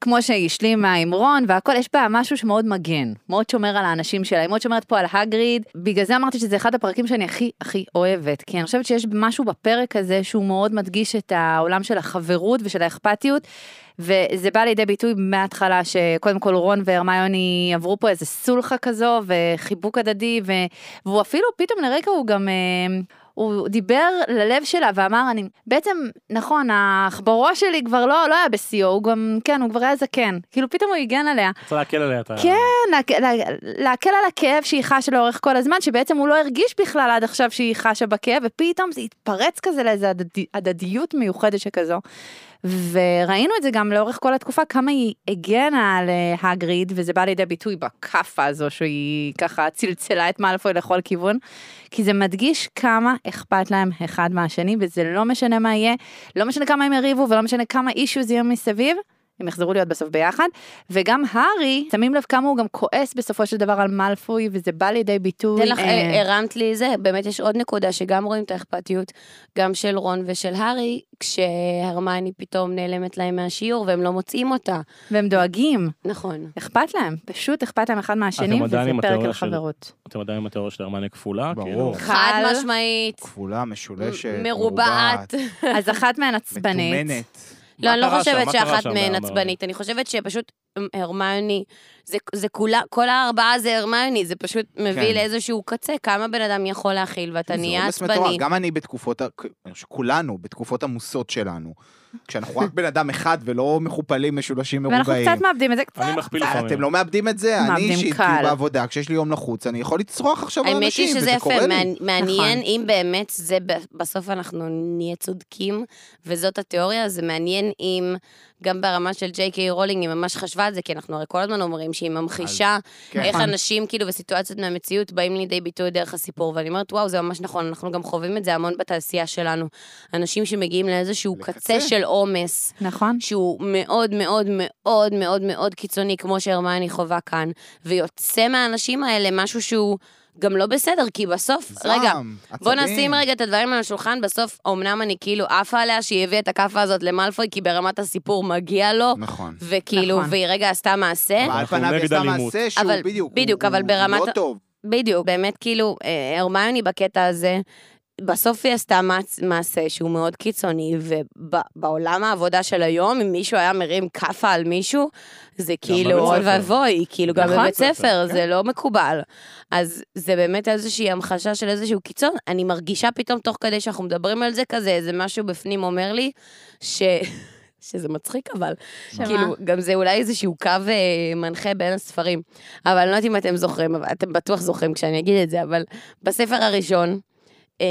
Speaker 5: כמו שהיא השלימה עם רון והכל, יש בה משהו שמאוד מגן, מאוד שומר על האנשים שלה, היא מאוד שומרת פה על הגריד, בגלל זה אמרתי שזה אחד הפרקים שאני הכי הכי אוהבת, כי אני חושבת שיש משהו בפרק הזה שהוא מאוד מדגיש את העולם של החברות ושל האכפתיות. וזה בא לידי ביטוי מההתחלה שקודם כל רון והרמיוני עברו פה איזה סולחה כזו וחיבוק הדדי ו... והוא אפילו פתאום לרגע הוא גם אה, הוא דיבר ללב שלה ואמר, אני, בעצם, נכון, העכברו שלי כבר לא, לא היה בשיאו, הוא גם, כן, הוא כבר היה זקן. כאילו, פתאום הוא הגן עליה.
Speaker 1: רוצה להקל עליה את ה...
Speaker 5: כן, להק- לה- להקל על הכאב שהיא חשה לאורך כל הזמן, שבעצם הוא לא הרגיש בכלל עד עכשיו שהיא חשה בכאב, ופתאום זה התפרץ כזה לאיזו הדדי- הדדיות מיוחדת שכזו. וראינו את זה גם לאורך כל התקופה, כמה היא הגנה על אה, הגריד, וזה בא לידי ביטוי בכאפה הזו, שהיא ככה צלצלה את מאלפוי לכל כיוון, כי זה מדגיש כמה אכפת להם אחד מהשני, וזה לא משנה מה יהיה, לא משנה כמה הם יריבו, ולא משנה כמה אישיוז יהיו מסביב, הם יחזרו להיות בסוף ביחד. וגם הארי, שמים לב כמה הוא גם כועס בסופו של דבר על מאלפוי, וזה בא לידי ביטוי.
Speaker 2: תן לך,
Speaker 5: אה,
Speaker 2: הרמת לי זה, באמת יש עוד נקודה שגם רואים את האכפתיות, גם של רון ושל הארי, כשהרמני פתאום נעלמת להם מהשיעור והם לא מוצאים אותה.
Speaker 5: והם דואגים,
Speaker 2: נכון.
Speaker 5: אכפת להם, פשוט אכפת להם אחד מהשני,
Speaker 1: אתם
Speaker 5: וזה
Speaker 1: עדיין עם
Speaker 5: פרק
Speaker 1: התיאוריה
Speaker 5: על
Speaker 1: של-
Speaker 5: חברות.
Speaker 1: אתם עדיין עם התיאוריה של הרמניה כפולה?
Speaker 4: ברור.
Speaker 1: כאילו,
Speaker 2: חד
Speaker 5: חל.
Speaker 2: משמעית,
Speaker 4: כפולה, משולשת,
Speaker 2: מרובעת.
Speaker 5: אז אחת מהן עצבנית.
Speaker 4: מתומנת.
Speaker 2: לא, אני לא
Speaker 1: מה קרה שם?
Speaker 2: חושבת
Speaker 1: מה קרה
Speaker 2: שאחת
Speaker 1: שם
Speaker 2: מהן
Speaker 1: בהרמני?
Speaker 2: עצבנית, אני חושבת שפשוט אמ, הרמיוני, זה- זה כולה, כל הארבעה זה הרמיוני, זה פשוט מביא
Speaker 4: כן.
Speaker 2: לאיזשהו קצה, כמה בן אדם יכול להכיל ואתה
Speaker 4: זה
Speaker 2: נהיה
Speaker 4: עומס מטורף.
Speaker 2: עצבני.
Speaker 4: גם אני בתקופות, ה- אני חושב שכולנו בתקופות עמוסות שלנו. כשאנחנו רק בן אדם אחד ולא מחופלים, משולשים,
Speaker 5: ואנחנו
Speaker 4: מרובעים.
Speaker 5: קצת מאבדים את זה קצת.
Speaker 1: אני מכפיל לפעמים.
Speaker 4: אתם לא מאבדים את זה, אני
Speaker 5: מאבדים
Speaker 4: אישית,
Speaker 5: קל.
Speaker 4: כאילו בעבודה, כשיש לי יום לחוץ, אני יכול לצרוח עכשיו על
Speaker 2: האמת
Speaker 4: אנשים,
Speaker 2: היא שזה
Speaker 4: לא וזה קורה
Speaker 2: יפה,
Speaker 4: לי.
Speaker 2: מעני- מעניין
Speaker 5: נכון.
Speaker 2: אם באמת זה, ב- בסוף אנחנו נהיה צודקים, וזאת התיאוריה, זה מעניין אם גם ברמה של ג'יי קיי רולינג היא ממש חשבה על זה, כי אנחנו הרי כל הזמן אומרים שהיא ממחישה
Speaker 4: כן.
Speaker 2: איך
Speaker 5: נכון.
Speaker 2: אנשים כאילו בסיטואציות מהמציאות באים לידי ביטוי דרך הסיפור, ואני אומרת, וואו, זה ממש נכון, אנחנו גם חווים את זה המון בתעשייה שלנו. אנשים שמגיעים לאיזשהו קצה
Speaker 4: לקצה.
Speaker 2: של עומס,
Speaker 4: לא-
Speaker 5: נכון.
Speaker 2: שהוא מאוד מאוד מאוד מאוד מאוד קיצוני, כמו שהרמני חווה כאן, ויוצא מהאנשים האלה משהו שהוא גם לא בסדר, כי בסוף,
Speaker 4: זעם,
Speaker 2: רגע,
Speaker 4: עצבים.
Speaker 2: בוא נשים רגע את הדברים על השולחן, בסוף, אמנם אני כאילו עפה עליה שהיא הביאה את הכאפה הזאת למלפוי, כי ברמת הסיפור מגיע לו,
Speaker 4: נכון.
Speaker 2: וכאילו,
Speaker 5: נכון.
Speaker 2: והיא רגע עשתה מעשה.
Speaker 4: אבל על
Speaker 1: אנחנו
Speaker 4: פניו
Speaker 1: נגד
Speaker 4: היא עשתה
Speaker 1: אלימות.
Speaker 4: מעשה שהוא
Speaker 2: אבל-
Speaker 4: בדיוק,
Speaker 2: בדיוק,
Speaker 4: הוא-
Speaker 2: אבל ברמת
Speaker 4: הוא
Speaker 2: ה-
Speaker 4: לא טוב.
Speaker 2: בדיוק, באמת, כאילו, אה, הרמיוני בקטע הזה, בסוף היא עשתה מעצ- מעשה שהוא מאוד קיצוני, ובעולם העבודה של היום, אם מישהו היה מרים כאפה על מישהו, זה כאילו,
Speaker 1: בבית
Speaker 2: אוי
Speaker 1: ספר.
Speaker 2: ואבוי, כאילו, גם
Speaker 5: נכון.
Speaker 2: בבית ספר,
Speaker 1: כן.
Speaker 2: זה לא מקובל. אז זה באמת איזושהי המחשה של איזשהו קיצון. אני מרגישה פתאום, תוך כדי שאנחנו מדברים על זה כזה, איזה משהו בפנים אומר לי, ש... שזה מצחיק אבל,
Speaker 5: שמה?
Speaker 2: כאילו, גם זה אולי איזשהו קו אה, מנחה בין הספרים. אבל אני לא יודעת אם אתם זוכרים, אבל אתם בטוח זוכרים כשאני אגיד את זה, אבל בספר הראשון, אמ,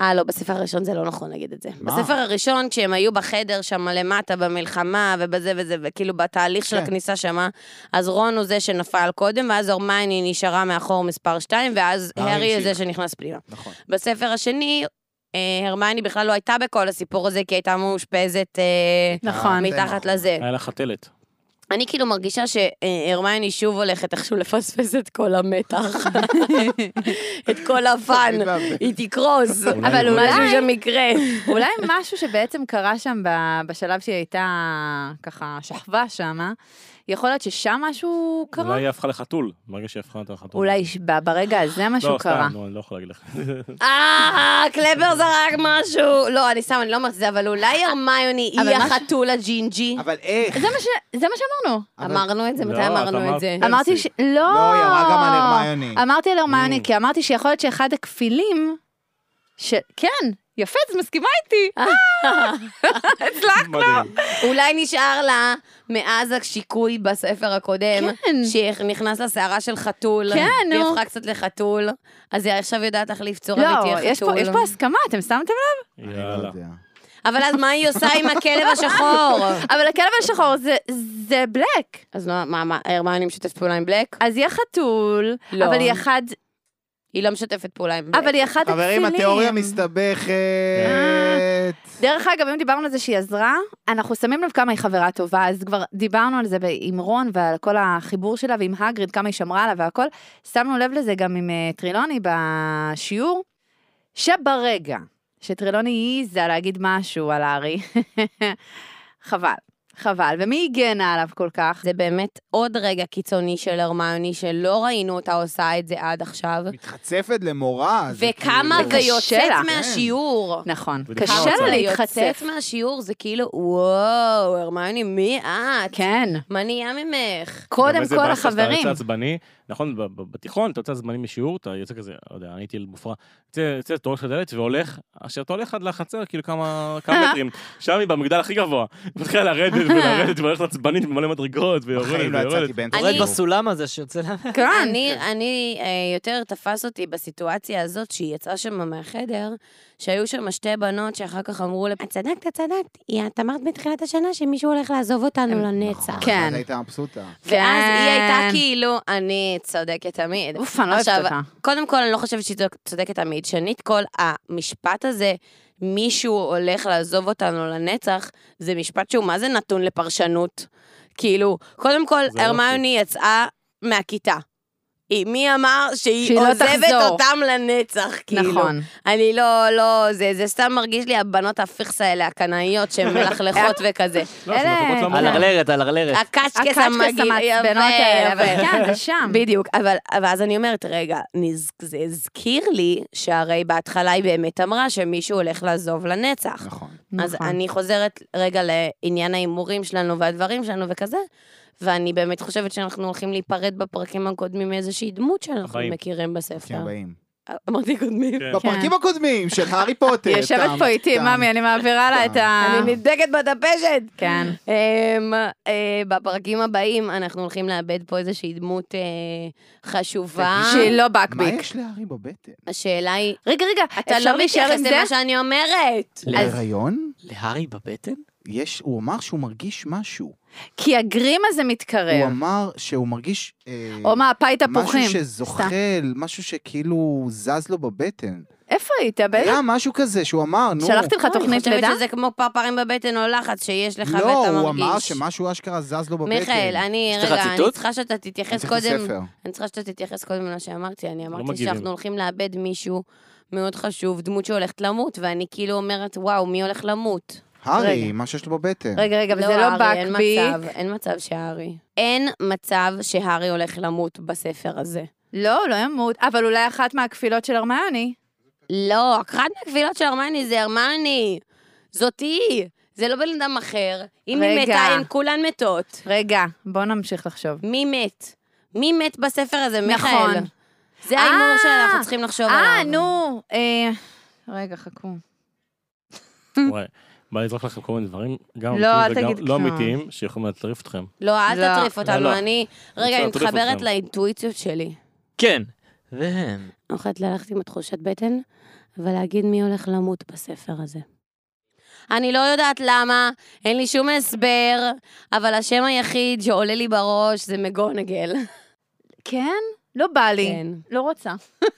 Speaker 2: אה, לא, בספר הראשון זה לא נכון להגיד את זה.
Speaker 4: מה?
Speaker 2: בספר הראשון, כשהם היו בחדר שם למטה במלחמה ובזה וזה, וכאילו בתהליך של
Speaker 4: כן.
Speaker 2: הכניסה שמה, אז רון הוא זה שנפל קודם, ואז הרמייני נשארה מאחור מספר 2, ואז
Speaker 4: והארי
Speaker 2: הארי הוא זה
Speaker 4: אה, המשיך.
Speaker 2: שנכנס פנימה.
Speaker 4: נכון.
Speaker 2: בספר השני, אה, הרמייני בכלל לא הייתה בכל הסיפור הזה, כי הייתה מאושפזת אה,
Speaker 5: נכון.
Speaker 4: זה
Speaker 2: מתחת
Speaker 1: כן.
Speaker 4: נכון.
Speaker 2: לזה.
Speaker 1: היה לה חתלת.
Speaker 2: אני כאילו מרגישה שהרמייני שוב הולכת איכשהו לפספס את כל המתח, את כל הפאן. היא תקרוס,
Speaker 1: אולי אולי-
Speaker 2: אבל אולי משהו שם יקרה.
Speaker 5: אולי משהו שבעצם קרה שם ב- בשלב שהיא הייתה ככה שכבה שמה, יכול להיות ששם משהו קרה?
Speaker 1: אולי היא הפכה לחתול, ברגע שהיא הפכה אותה לחתול.
Speaker 5: אולי ש- ב- ברגע הזה משהו
Speaker 1: לא,
Speaker 5: קרה.
Speaker 1: סתם, לא, אני לא יכול להגיד לך.
Speaker 2: אה, קלבר זרק משהו. לא, אני סתם, אני לא אומרת את זה, אבל אולי הרמיוני
Speaker 5: אבל
Speaker 2: היא
Speaker 5: מה ש-
Speaker 2: החתול הג'ינג'י.
Speaker 4: אבל איך?
Speaker 5: זה מה ש- זה מה שאמרנו.
Speaker 4: אבל-
Speaker 2: אמרנו את זה?
Speaker 1: לא,
Speaker 2: מתי
Speaker 1: את
Speaker 2: אמרנו
Speaker 1: אמרת-
Speaker 2: את זה?
Speaker 1: פרסי.
Speaker 5: אמרתי ש... לא.
Speaker 4: לא, היא אמרה גם על הרמיוני.
Speaker 5: אמרתי על הרמיוני,
Speaker 1: Mm.
Speaker 5: כי אמרתי שיכול להיות שאחד הכפילים... ש... כן, יפה, את מסכימה איתי.
Speaker 1: מדהים.
Speaker 2: אולי נשאר לה מאז השיקוי בספר הקודם,
Speaker 5: כן.
Speaker 2: שנכנס לסערה של חתול.
Speaker 5: כן,
Speaker 2: והיא
Speaker 5: נו.
Speaker 2: הפכה קצת לחתול, אז היא עכשיו יודעת איך לפצור
Speaker 5: לא,
Speaker 2: אמיתי החתול.
Speaker 5: יש פה- יש פה הסכמה, אתם שמתם לב?
Speaker 4: אני לא
Speaker 1: יאללה.
Speaker 4: יודע.
Speaker 2: אבל אז מה היא עושה עם הכלב השחור?
Speaker 5: אבל הכלב השחור זה- זה בלק.
Speaker 2: אז לא, מה, מה, הרמיוני משתף פעולה עם בלק?
Speaker 5: אז היא החתול,
Speaker 2: לא.
Speaker 5: אבל היא אחד...
Speaker 2: היא לא משתפת פעולה עם בלק.
Speaker 5: אבל היא אחת הכפילים.
Speaker 4: חברים, התיאוריה
Speaker 2: אה.
Speaker 4: מסתבכת.
Speaker 5: דרך אגב, אם דיברנו על זה שהיא עזרה, אנחנו שמים לב כמה היא חברה טובה, אז כבר דיברנו על זה ב- עם רון ועל כל החיבור שלה ועם הגריד, כמה היא שמרה עליו והכל. שמנו לב לזה גם עם אה, טרילוני בשיעור, שברגע שטרילוני העיזה להגיד משהו על הארי, חבל, חבל. ומי הגנה עליו כל כך?
Speaker 2: זה באמת עוד רגע קיצוני של הרמיוני, שלא ראינו אותה עושה את זה עד עכשיו.
Speaker 4: מתחצפת למורה. זה
Speaker 2: וכמה
Speaker 4: כאילו-
Speaker 5: זה קשה
Speaker 2: ויוצאת
Speaker 5: לה.
Speaker 2: מהשיעור.
Speaker 5: נכון,
Speaker 1: ולפני
Speaker 5: קשה
Speaker 1: ההוצאה.
Speaker 5: לה
Speaker 2: יוצאת
Speaker 5: להתחצף.
Speaker 2: מהשיעור זה כאילו, וואו, הרמיוני, מי את?
Speaker 5: כן,
Speaker 2: מה נהיה ממך?
Speaker 5: קודם
Speaker 1: גם איזה
Speaker 5: כל
Speaker 1: באסה שאתה
Speaker 5: החברים.
Speaker 1: יוצא עצבני, נכון, ב- ב- בתיכון אתה יוצא עצבני משיעור, אתה יוצא כזה, לא יודע, אני הייתי ילד מופרע, יוצא, יוצא, אתה הולך לדלת והולך, עכשיו אתה הולך עד לחצר, כאילו כמה כמה מטרים, שם היא במגדל הכי גבוה, מתחילה לרדת ולרדת והולכת עצבנית ממלא מדרגות ויורדת
Speaker 4: בחיים לא יצאתי
Speaker 1: ויורדת.
Speaker 4: באמצע
Speaker 2: אני-
Speaker 3: יורד
Speaker 4: שיעור.
Speaker 3: בסולם הזה שיוצא לה...
Speaker 5: כן.
Speaker 2: אני, אני אה, יותר תפס אותי בסיטואציה הזאת שהיא יצאה שם מהחדר, שהיו שם שתי בנות שאחר כך אמרו לה, את צדקת, את צדקת, היא- את אמרת בתחילת השנה שמישהו הולך לעזוב אותנו לנצח.
Speaker 4: נכון,
Speaker 5: כן.
Speaker 4: אז הייתה מבסוטה.
Speaker 2: ואז היא הייתה
Speaker 5: כן.
Speaker 2: כאילו, אני צודקת תמיד.
Speaker 5: אוף, אני לא אוהבת
Speaker 2: עכשיו,
Speaker 5: אותה.
Speaker 2: קודם כל, אני לא חושבת שהיא צודק- צודקת תמיד. שנית כל, המשפט הזה, מישהו הולך לעזוב אותנו לנצח, זה משפט שהוא מה זה נתון לפרשנות. כאילו, קודם כל,
Speaker 1: זה לא
Speaker 2: הרמיוני יצאה מהכיתה. היא, מי אמר שהיא
Speaker 5: שהיא לא
Speaker 2: עוזבת
Speaker 5: תחזור.
Speaker 2: אותם לנצח, כאילו.
Speaker 5: נכון.
Speaker 2: אני לא, לא, זה, זה סתם מרגיש לי הבנות הפיכסה האלה, הקנאיות, שהן מלכלכות וכזה.
Speaker 1: לא, זה
Speaker 5: אלה-
Speaker 1: מטרות לא אמורות.
Speaker 3: הלרלרת, הלרלרת.
Speaker 2: אה, הקשקס
Speaker 5: הקשקש המעצבנות האלה, אבל
Speaker 2: יפה.
Speaker 5: כן, זה שם.
Speaker 2: בדיוק, אבל, ואז אני אומרת, רגע, נז, זה הזכיר לי שהרי בהתחלה היא באמת אמרה שמישהו הולך לעזוב לנצח.
Speaker 4: נכון.
Speaker 2: אז
Speaker 5: נכון.
Speaker 2: אני חוזרת רגע לעניין ההימורים שלנו והדברים שלנו וכזה, ואני באמת חושבת שאנחנו הולכים להיפרד בפרקים הקודמים מאיזושהי דמות שאנחנו
Speaker 1: הבאים.
Speaker 2: מכירים בספר.
Speaker 4: כן, באים.
Speaker 2: אמרתי קודמים.
Speaker 1: כן.
Speaker 4: בפרקים הקודמים של הארי פוטר.
Speaker 5: היא יושבת
Speaker 4: טעם,
Speaker 5: פה איתי,
Speaker 4: טעם.
Speaker 5: ממי, אני מעבירה לה את ה...
Speaker 2: אני נדבקת בדפשת.
Speaker 5: אה. כן.
Speaker 2: אמ, אה, בפרקים הבאים אנחנו הולכים לאבד פה איזושהי דמות אה, חשובה.
Speaker 5: שהיא לא
Speaker 4: מה
Speaker 5: בקביק.
Speaker 4: יש להארי בבטן?
Speaker 2: השאלה היא,
Speaker 5: רגע, רגע,
Speaker 2: אתה
Speaker 5: אפשר
Speaker 2: לא
Speaker 5: להישאר
Speaker 2: מתייחס
Speaker 5: עם זה?
Speaker 2: למה שאני אומרת.
Speaker 3: אז-
Speaker 4: להיריון?
Speaker 3: להארי בבטן?
Speaker 4: יש, הוא אמר שהוא מרגיש משהו.
Speaker 5: כי הגרים הזה מתקרב.
Speaker 4: הוא אמר שהוא מרגיש... אה,
Speaker 5: או מה, פאי תפוחים.
Speaker 4: משהו שזוחל, משהו שכאילו זז לו בבטן.
Speaker 5: איפה היית?
Speaker 4: היה
Speaker 5: באיזה-
Speaker 4: משהו כזה שהוא אמר, אה, נו.
Speaker 5: שלחתי לך תוכנית
Speaker 2: אה, לא, אני
Speaker 5: לידה?
Speaker 2: חושבת שזה כמו פרפרים בבטן או לחץ שיש לך ואתה
Speaker 4: לא,
Speaker 2: מרגיש.
Speaker 4: הוא אמר שמשהו אשכרה זז לו בבטן.
Speaker 2: מיכאל, אני,
Speaker 3: יש לך
Speaker 2: רגע, אני
Speaker 3: ציטוט?
Speaker 2: צריכה שאתה
Speaker 4: אני
Speaker 2: תתייחס
Speaker 4: צריך
Speaker 2: קודם,
Speaker 4: לספר.
Speaker 2: אני צריכה שאתה תתייחס קודם למה שאמרתי,
Speaker 3: לא
Speaker 2: אני אמרתי
Speaker 1: מגיבים.
Speaker 2: שאנחנו הולכים לאבד מישהו מאוד חשוב, דמות שהולכת למות, ואני כאילו אומרת, וואו, מי הולך למות?
Speaker 4: הארי, מה שיש לו בבטן.
Speaker 5: רגע, רגע, אבל זה לא
Speaker 2: הארי, אין
Speaker 5: בקביק.
Speaker 2: מצב, אין מצב שהארי. אין מצב שהארי הולך למות בספר הזה.
Speaker 5: לא, הוא לא ימות. אבל אולי אחת מהכפילות של הרמיוני.
Speaker 2: לא, אחת מהקבילות של הרמני זה הרמני. זאת היא. זה לא בן אדם אחר. אם היא
Speaker 5: רגע.
Speaker 2: מתה, הן כולן מתות.
Speaker 5: רגע, בוא נמשיך לחשוב.
Speaker 2: מי מת? מי מת בספר הזה, מיכאל?
Speaker 5: נכון.
Speaker 2: זה ההימור
Speaker 5: אה,
Speaker 2: שאנחנו צריכים לחשוב עליו.
Speaker 5: אה, נו. אה, רגע, חכו.
Speaker 1: וואי, בא לזרוק לכם כל מיני דברים, גם
Speaker 5: לא, אל
Speaker 1: אמיתיים
Speaker 5: תגיד
Speaker 1: וגם לא
Speaker 5: כלום.
Speaker 1: אמיתיים, שיכולים להטריף אתכם.
Speaker 2: לא, אל
Speaker 5: לא.
Speaker 2: תטריף
Speaker 1: לא,
Speaker 2: אותנו,
Speaker 1: לא.
Speaker 2: אני... רגע,
Speaker 1: רוצה
Speaker 2: אני
Speaker 1: להטריף
Speaker 2: מתחברת
Speaker 1: אתכם.
Speaker 2: לאינטואיציות שלי.
Speaker 3: כן. והם.
Speaker 2: אחת ללכת עם התחושת בטן, אבל להגיד מי הולך למות בספר הזה. אני לא יודעת למה, אין לי שום הסבר, אבל השם היחיד שעולה לי בראש זה מגונגל.
Speaker 5: כן? לא בא לי.
Speaker 2: כן.
Speaker 5: לא רוצה.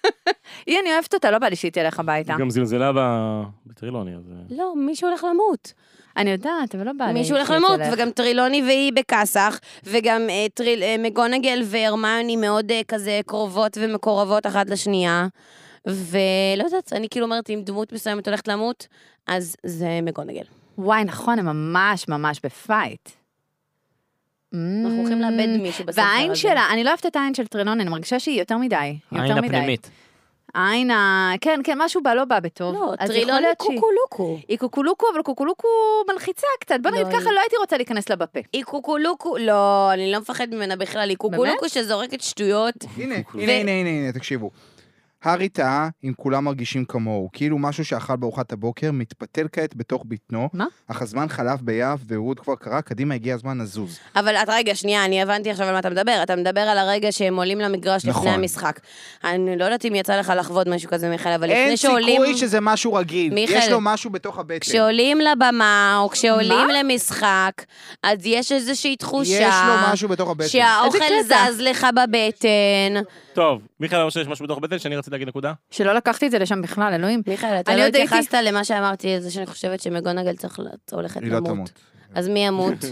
Speaker 5: היא, אני אוהבת אותה, לא בא לי שהיא תלך הביתה.
Speaker 1: היא גם זלזלה ב- בטרילוני, אז... אה,
Speaker 2: לא, מישהו הולך למות.
Speaker 5: אני יודעת, אבל לא בא לי
Speaker 2: מישהו הולך
Speaker 5: שהיא
Speaker 2: למות,
Speaker 5: תלך.
Speaker 2: וגם טרילוני והיא בכסח, וגם אה, טריל, אה, מגונגל והרמיוני מאוד אה, כזה קרובות ומקורבות אחת לשנייה. ולא יודעת, אני כאילו אומרת, אם דמות מסוימת הולכת למות, אז זה מגונגל.
Speaker 5: וואי, נכון, הם ממש ממש בפייט. Mm.
Speaker 2: אנחנו הולכים לאבד מישהו בספר הזה.
Speaker 5: והעין שלה, אני לא אוהבת את העין של טרנון, אני מרגישה שהיא יותר מדי. היא
Speaker 3: העין
Speaker 5: יותר מדי.
Speaker 3: הפנימית.
Speaker 5: העין ה... כן, כן, משהו בה לא בא בטוב.
Speaker 2: לא,
Speaker 5: אז יכול
Speaker 2: טרילוני
Speaker 5: להיות שהיא-
Speaker 2: קוקולוקו.
Speaker 5: היא קוקולוקו, אבל קוקולוקו מלחיצה קצת. בוא נגיד
Speaker 2: לא,
Speaker 5: ככה,
Speaker 2: היא-
Speaker 5: לא הייתי רוצה להיכנס לה בפה.
Speaker 2: היא קוקולוקו, לא, אני לא מפחד ממנה בכלל, היא קוקולוקו שזורקת שטויות.
Speaker 4: הנה, הנה, הנה, הנה, הנה, תקשיבו. הארי טעה אם כולם מרגישים כמוהו, כאילו משהו שאכל בארוחת הבוקר מתפתל כעת בתוך בטנו.
Speaker 5: מה?
Speaker 4: אך הזמן חלף ביעף והוד כבר קרה, קדימה הגיע הזמן לזוז.
Speaker 2: אבל את, רגע, שנייה, אני הבנתי עכשיו על מה אתה מדבר. אתה מדבר על הרגע שהם עולים למגרש לפני
Speaker 4: נכון.
Speaker 2: המשחק. אני לא יודעת אם יצא לך לחוות משהו כזה, מיכאל, אבל
Speaker 4: אין
Speaker 2: לפני שעולים...
Speaker 4: סיכוי שזה משהו רגיל.
Speaker 2: מיכאל,
Speaker 4: יש לו משהו בתוך הבטן.
Speaker 2: כשעולים לבמה, או כשעולים למשחק, אז יש איזושהי תחושה...
Speaker 4: יש לו משהו בתוך הבטן.
Speaker 2: שהאוכל
Speaker 5: איזה קטע.
Speaker 2: זז לך בבטן.
Speaker 1: טוב, מיכאל אמר שיש משהו בתוך בטן שאני רציתי להגיד נקודה.
Speaker 5: שלא לקחתי את זה לשם בכלל, אלוהים.
Speaker 2: מיכאל, אתה
Speaker 5: אני
Speaker 2: לא
Speaker 5: עוד הייתי-
Speaker 2: התייחסת למה שאמרתי, זה שאני חושבת שמגונגל צריך ל- הולכת
Speaker 4: היא לא
Speaker 2: למות.
Speaker 4: תמות.
Speaker 2: אז מי ימות?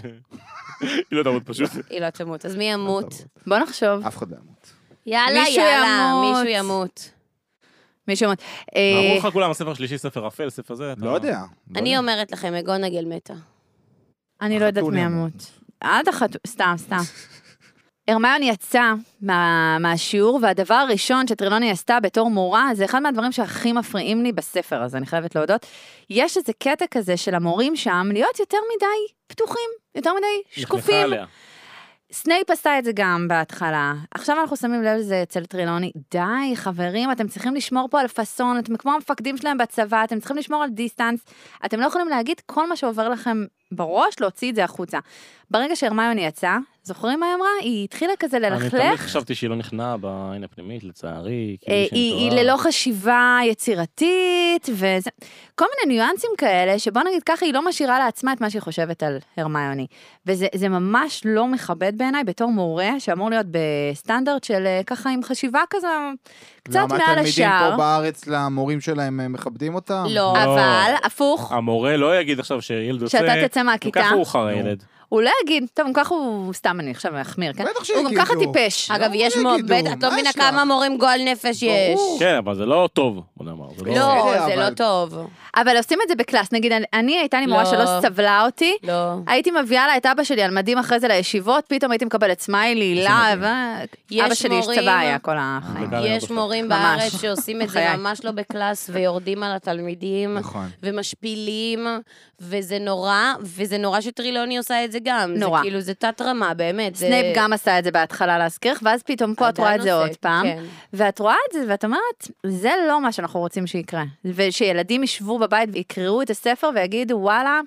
Speaker 1: היא לא תמות פשוט.
Speaker 2: היא לא תמות. אז מי ימות?
Speaker 5: בוא
Speaker 3: אה.
Speaker 5: נחשוב.
Speaker 4: אף אחד לא ימות.
Speaker 2: יאללה,
Speaker 5: מישהו
Speaker 2: יאללה,
Speaker 5: ימות.
Speaker 2: מישהו ימות.
Speaker 5: מישהו אמר... אה,
Speaker 1: אמרו לך כולם, הספר שלישי, ספר אפל, ספר זה. אתה-
Speaker 4: לא יודע. לא
Speaker 2: אני
Speaker 4: יודע.
Speaker 2: אומרת לכם, מגונגל מתה.
Speaker 5: אני לא יודעת
Speaker 4: החתול
Speaker 5: מי
Speaker 4: ימות.
Speaker 5: ימות. עד החתול, סתם, סתם. הרמיון יצא מה, מהשיעור, והדבר הראשון שטרילוני עשתה בתור מורה, זה אחד מהדברים שהכי מפריעים לי בספר הזה, אני חייבת להודות. יש איזה קטע כזה של המורים שם להיות יותר מדי פתוחים, יותר מדי
Speaker 1: נכנסה
Speaker 5: שקופים.
Speaker 1: עליה.
Speaker 5: סנייפ עשה את זה גם בהתחלה. עכשיו אנחנו שמים לב לזה אצל טרילוני. די, חברים, אתם צריכים לשמור פה על פאסון, אתם כמו המפקדים שלהם בצבא, אתם צריכים לשמור על דיסטנס. אתם לא יכולים להגיד כל מה שעובר לכם בראש, להוציא את זה החוצה. ברגע שהרמיוני יצאה, זוכרים מה היא אמרה? היא התחילה כזה
Speaker 1: אני תמיד
Speaker 5: ללכלך.
Speaker 1: חשבתי שהיא לא נכנעה בעין הפנימית, לצערי. כאילו
Speaker 5: אה,
Speaker 1: שהיא
Speaker 5: היא, היא
Speaker 1: טועה.
Speaker 5: ללא חשיבה יצירתית, וזה... כל מיני ניואנסים כאלה, שבוא נגיד ככה, היא לא משאירה לעצמה את מה שהיא חושבת על הרמיוני. וזה זה ממש לא מכבד בעיניי בתור מורה, שאמור להיות בסטנדרט של אה, ככה עם חשיבה כזה, קצת
Speaker 4: למה
Speaker 5: מעל
Speaker 4: התלמידים
Speaker 5: השאר.
Speaker 4: פה בארץ למורים שלהם הם מכבדים אותם?
Speaker 2: לא.
Speaker 5: אבל,
Speaker 4: אה.
Speaker 5: הפוך,
Speaker 1: המורה לא יגיד עכשיו שילד יוצא...
Speaker 5: שאתה תצא
Speaker 1: גם
Speaker 5: מהכיתה,
Speaker 1: ככה הוא חרא ילד.
Speaker 5: הוא לא יגיד, טוב, גם ככה הוא, סתם אני עכשיו אחמיר, כן?
Speaker 4: בטח
Speaker 5: הוא גם ככה
Speaker 4: שיגידו.
Speaker 5: טיפש.
Speaker 2: אגב,
Speaker 4: מה
Speaker 2: יש
Speaker 4: יגידו?
Speaker 2: מאוד, בטח, את לא
Speaker 4: מה
Speaker 2: מבינה
Speaker 4: יש לה?
Speaker 2: כמה מורים גועל נפש יש.
Speaker 4: ברור.
Speaker 1: כן, אבל זה לא טוב, בוא נאמר. זה
Speaker 2: לא,
Speaker 4: בסדר,
Speaker 2: זה לא
Speaker 4: אבל-
Speaker 2: טוב.
Speaker 5: אבל עושים את זה בקלאס, נגיד, אני- אני הייתה לי מורה
Speaker 2: לא.
Speaker 5: שלא סבלה אותי,
Speaker 2: לא.
Speaker 5: הייתי מביאה לה את אבא שלי על מדים אחרי זה לישיבות, פתאום הייתי מקבלת סמיילי, הילה,
Speaker 2: יש
Speaker 5: ו... אבא שלי איש
Speaker 2: מורים-
Speaker 5: צבא היה כל החיים.
Speaker 1: זה גם
Speaker 2: יש
Speaker 1: בסדר.
Speaker 2: מורים
Speaker 5: ממש.
Speaker 2: בארץ שעושים את זה
Speaker 5: בחיי.
Speaker 2: ממש לא בקלאס, ויורדים על התלמידים,
Speaker 4: נכון.
Speaker 2: ומשפילים, וזה נורא, וזה נורא שטרילוני עושה את זה גם.
Speaker 5: נורא.
Speaker 2: זה כאילו, זה תת-רמה, באמת. זה-
Speaker 5: סנייפ גם עשה את זה בהתחלה להזכירך, ואז פתאום פה את רואה את זה
Speaker 2: עדיין
Speaker 5: עוד
Speaker 2: עושה,
Speaker 5: פעם,
Speaker 2: כן.
Speaker 5: ואת רואה את זה ואת אומרת, זה לא מה שאנחנו רוצים שיקרה. ושילדים ישבו בבית ויקראו את הספר ויגידו, וואלה,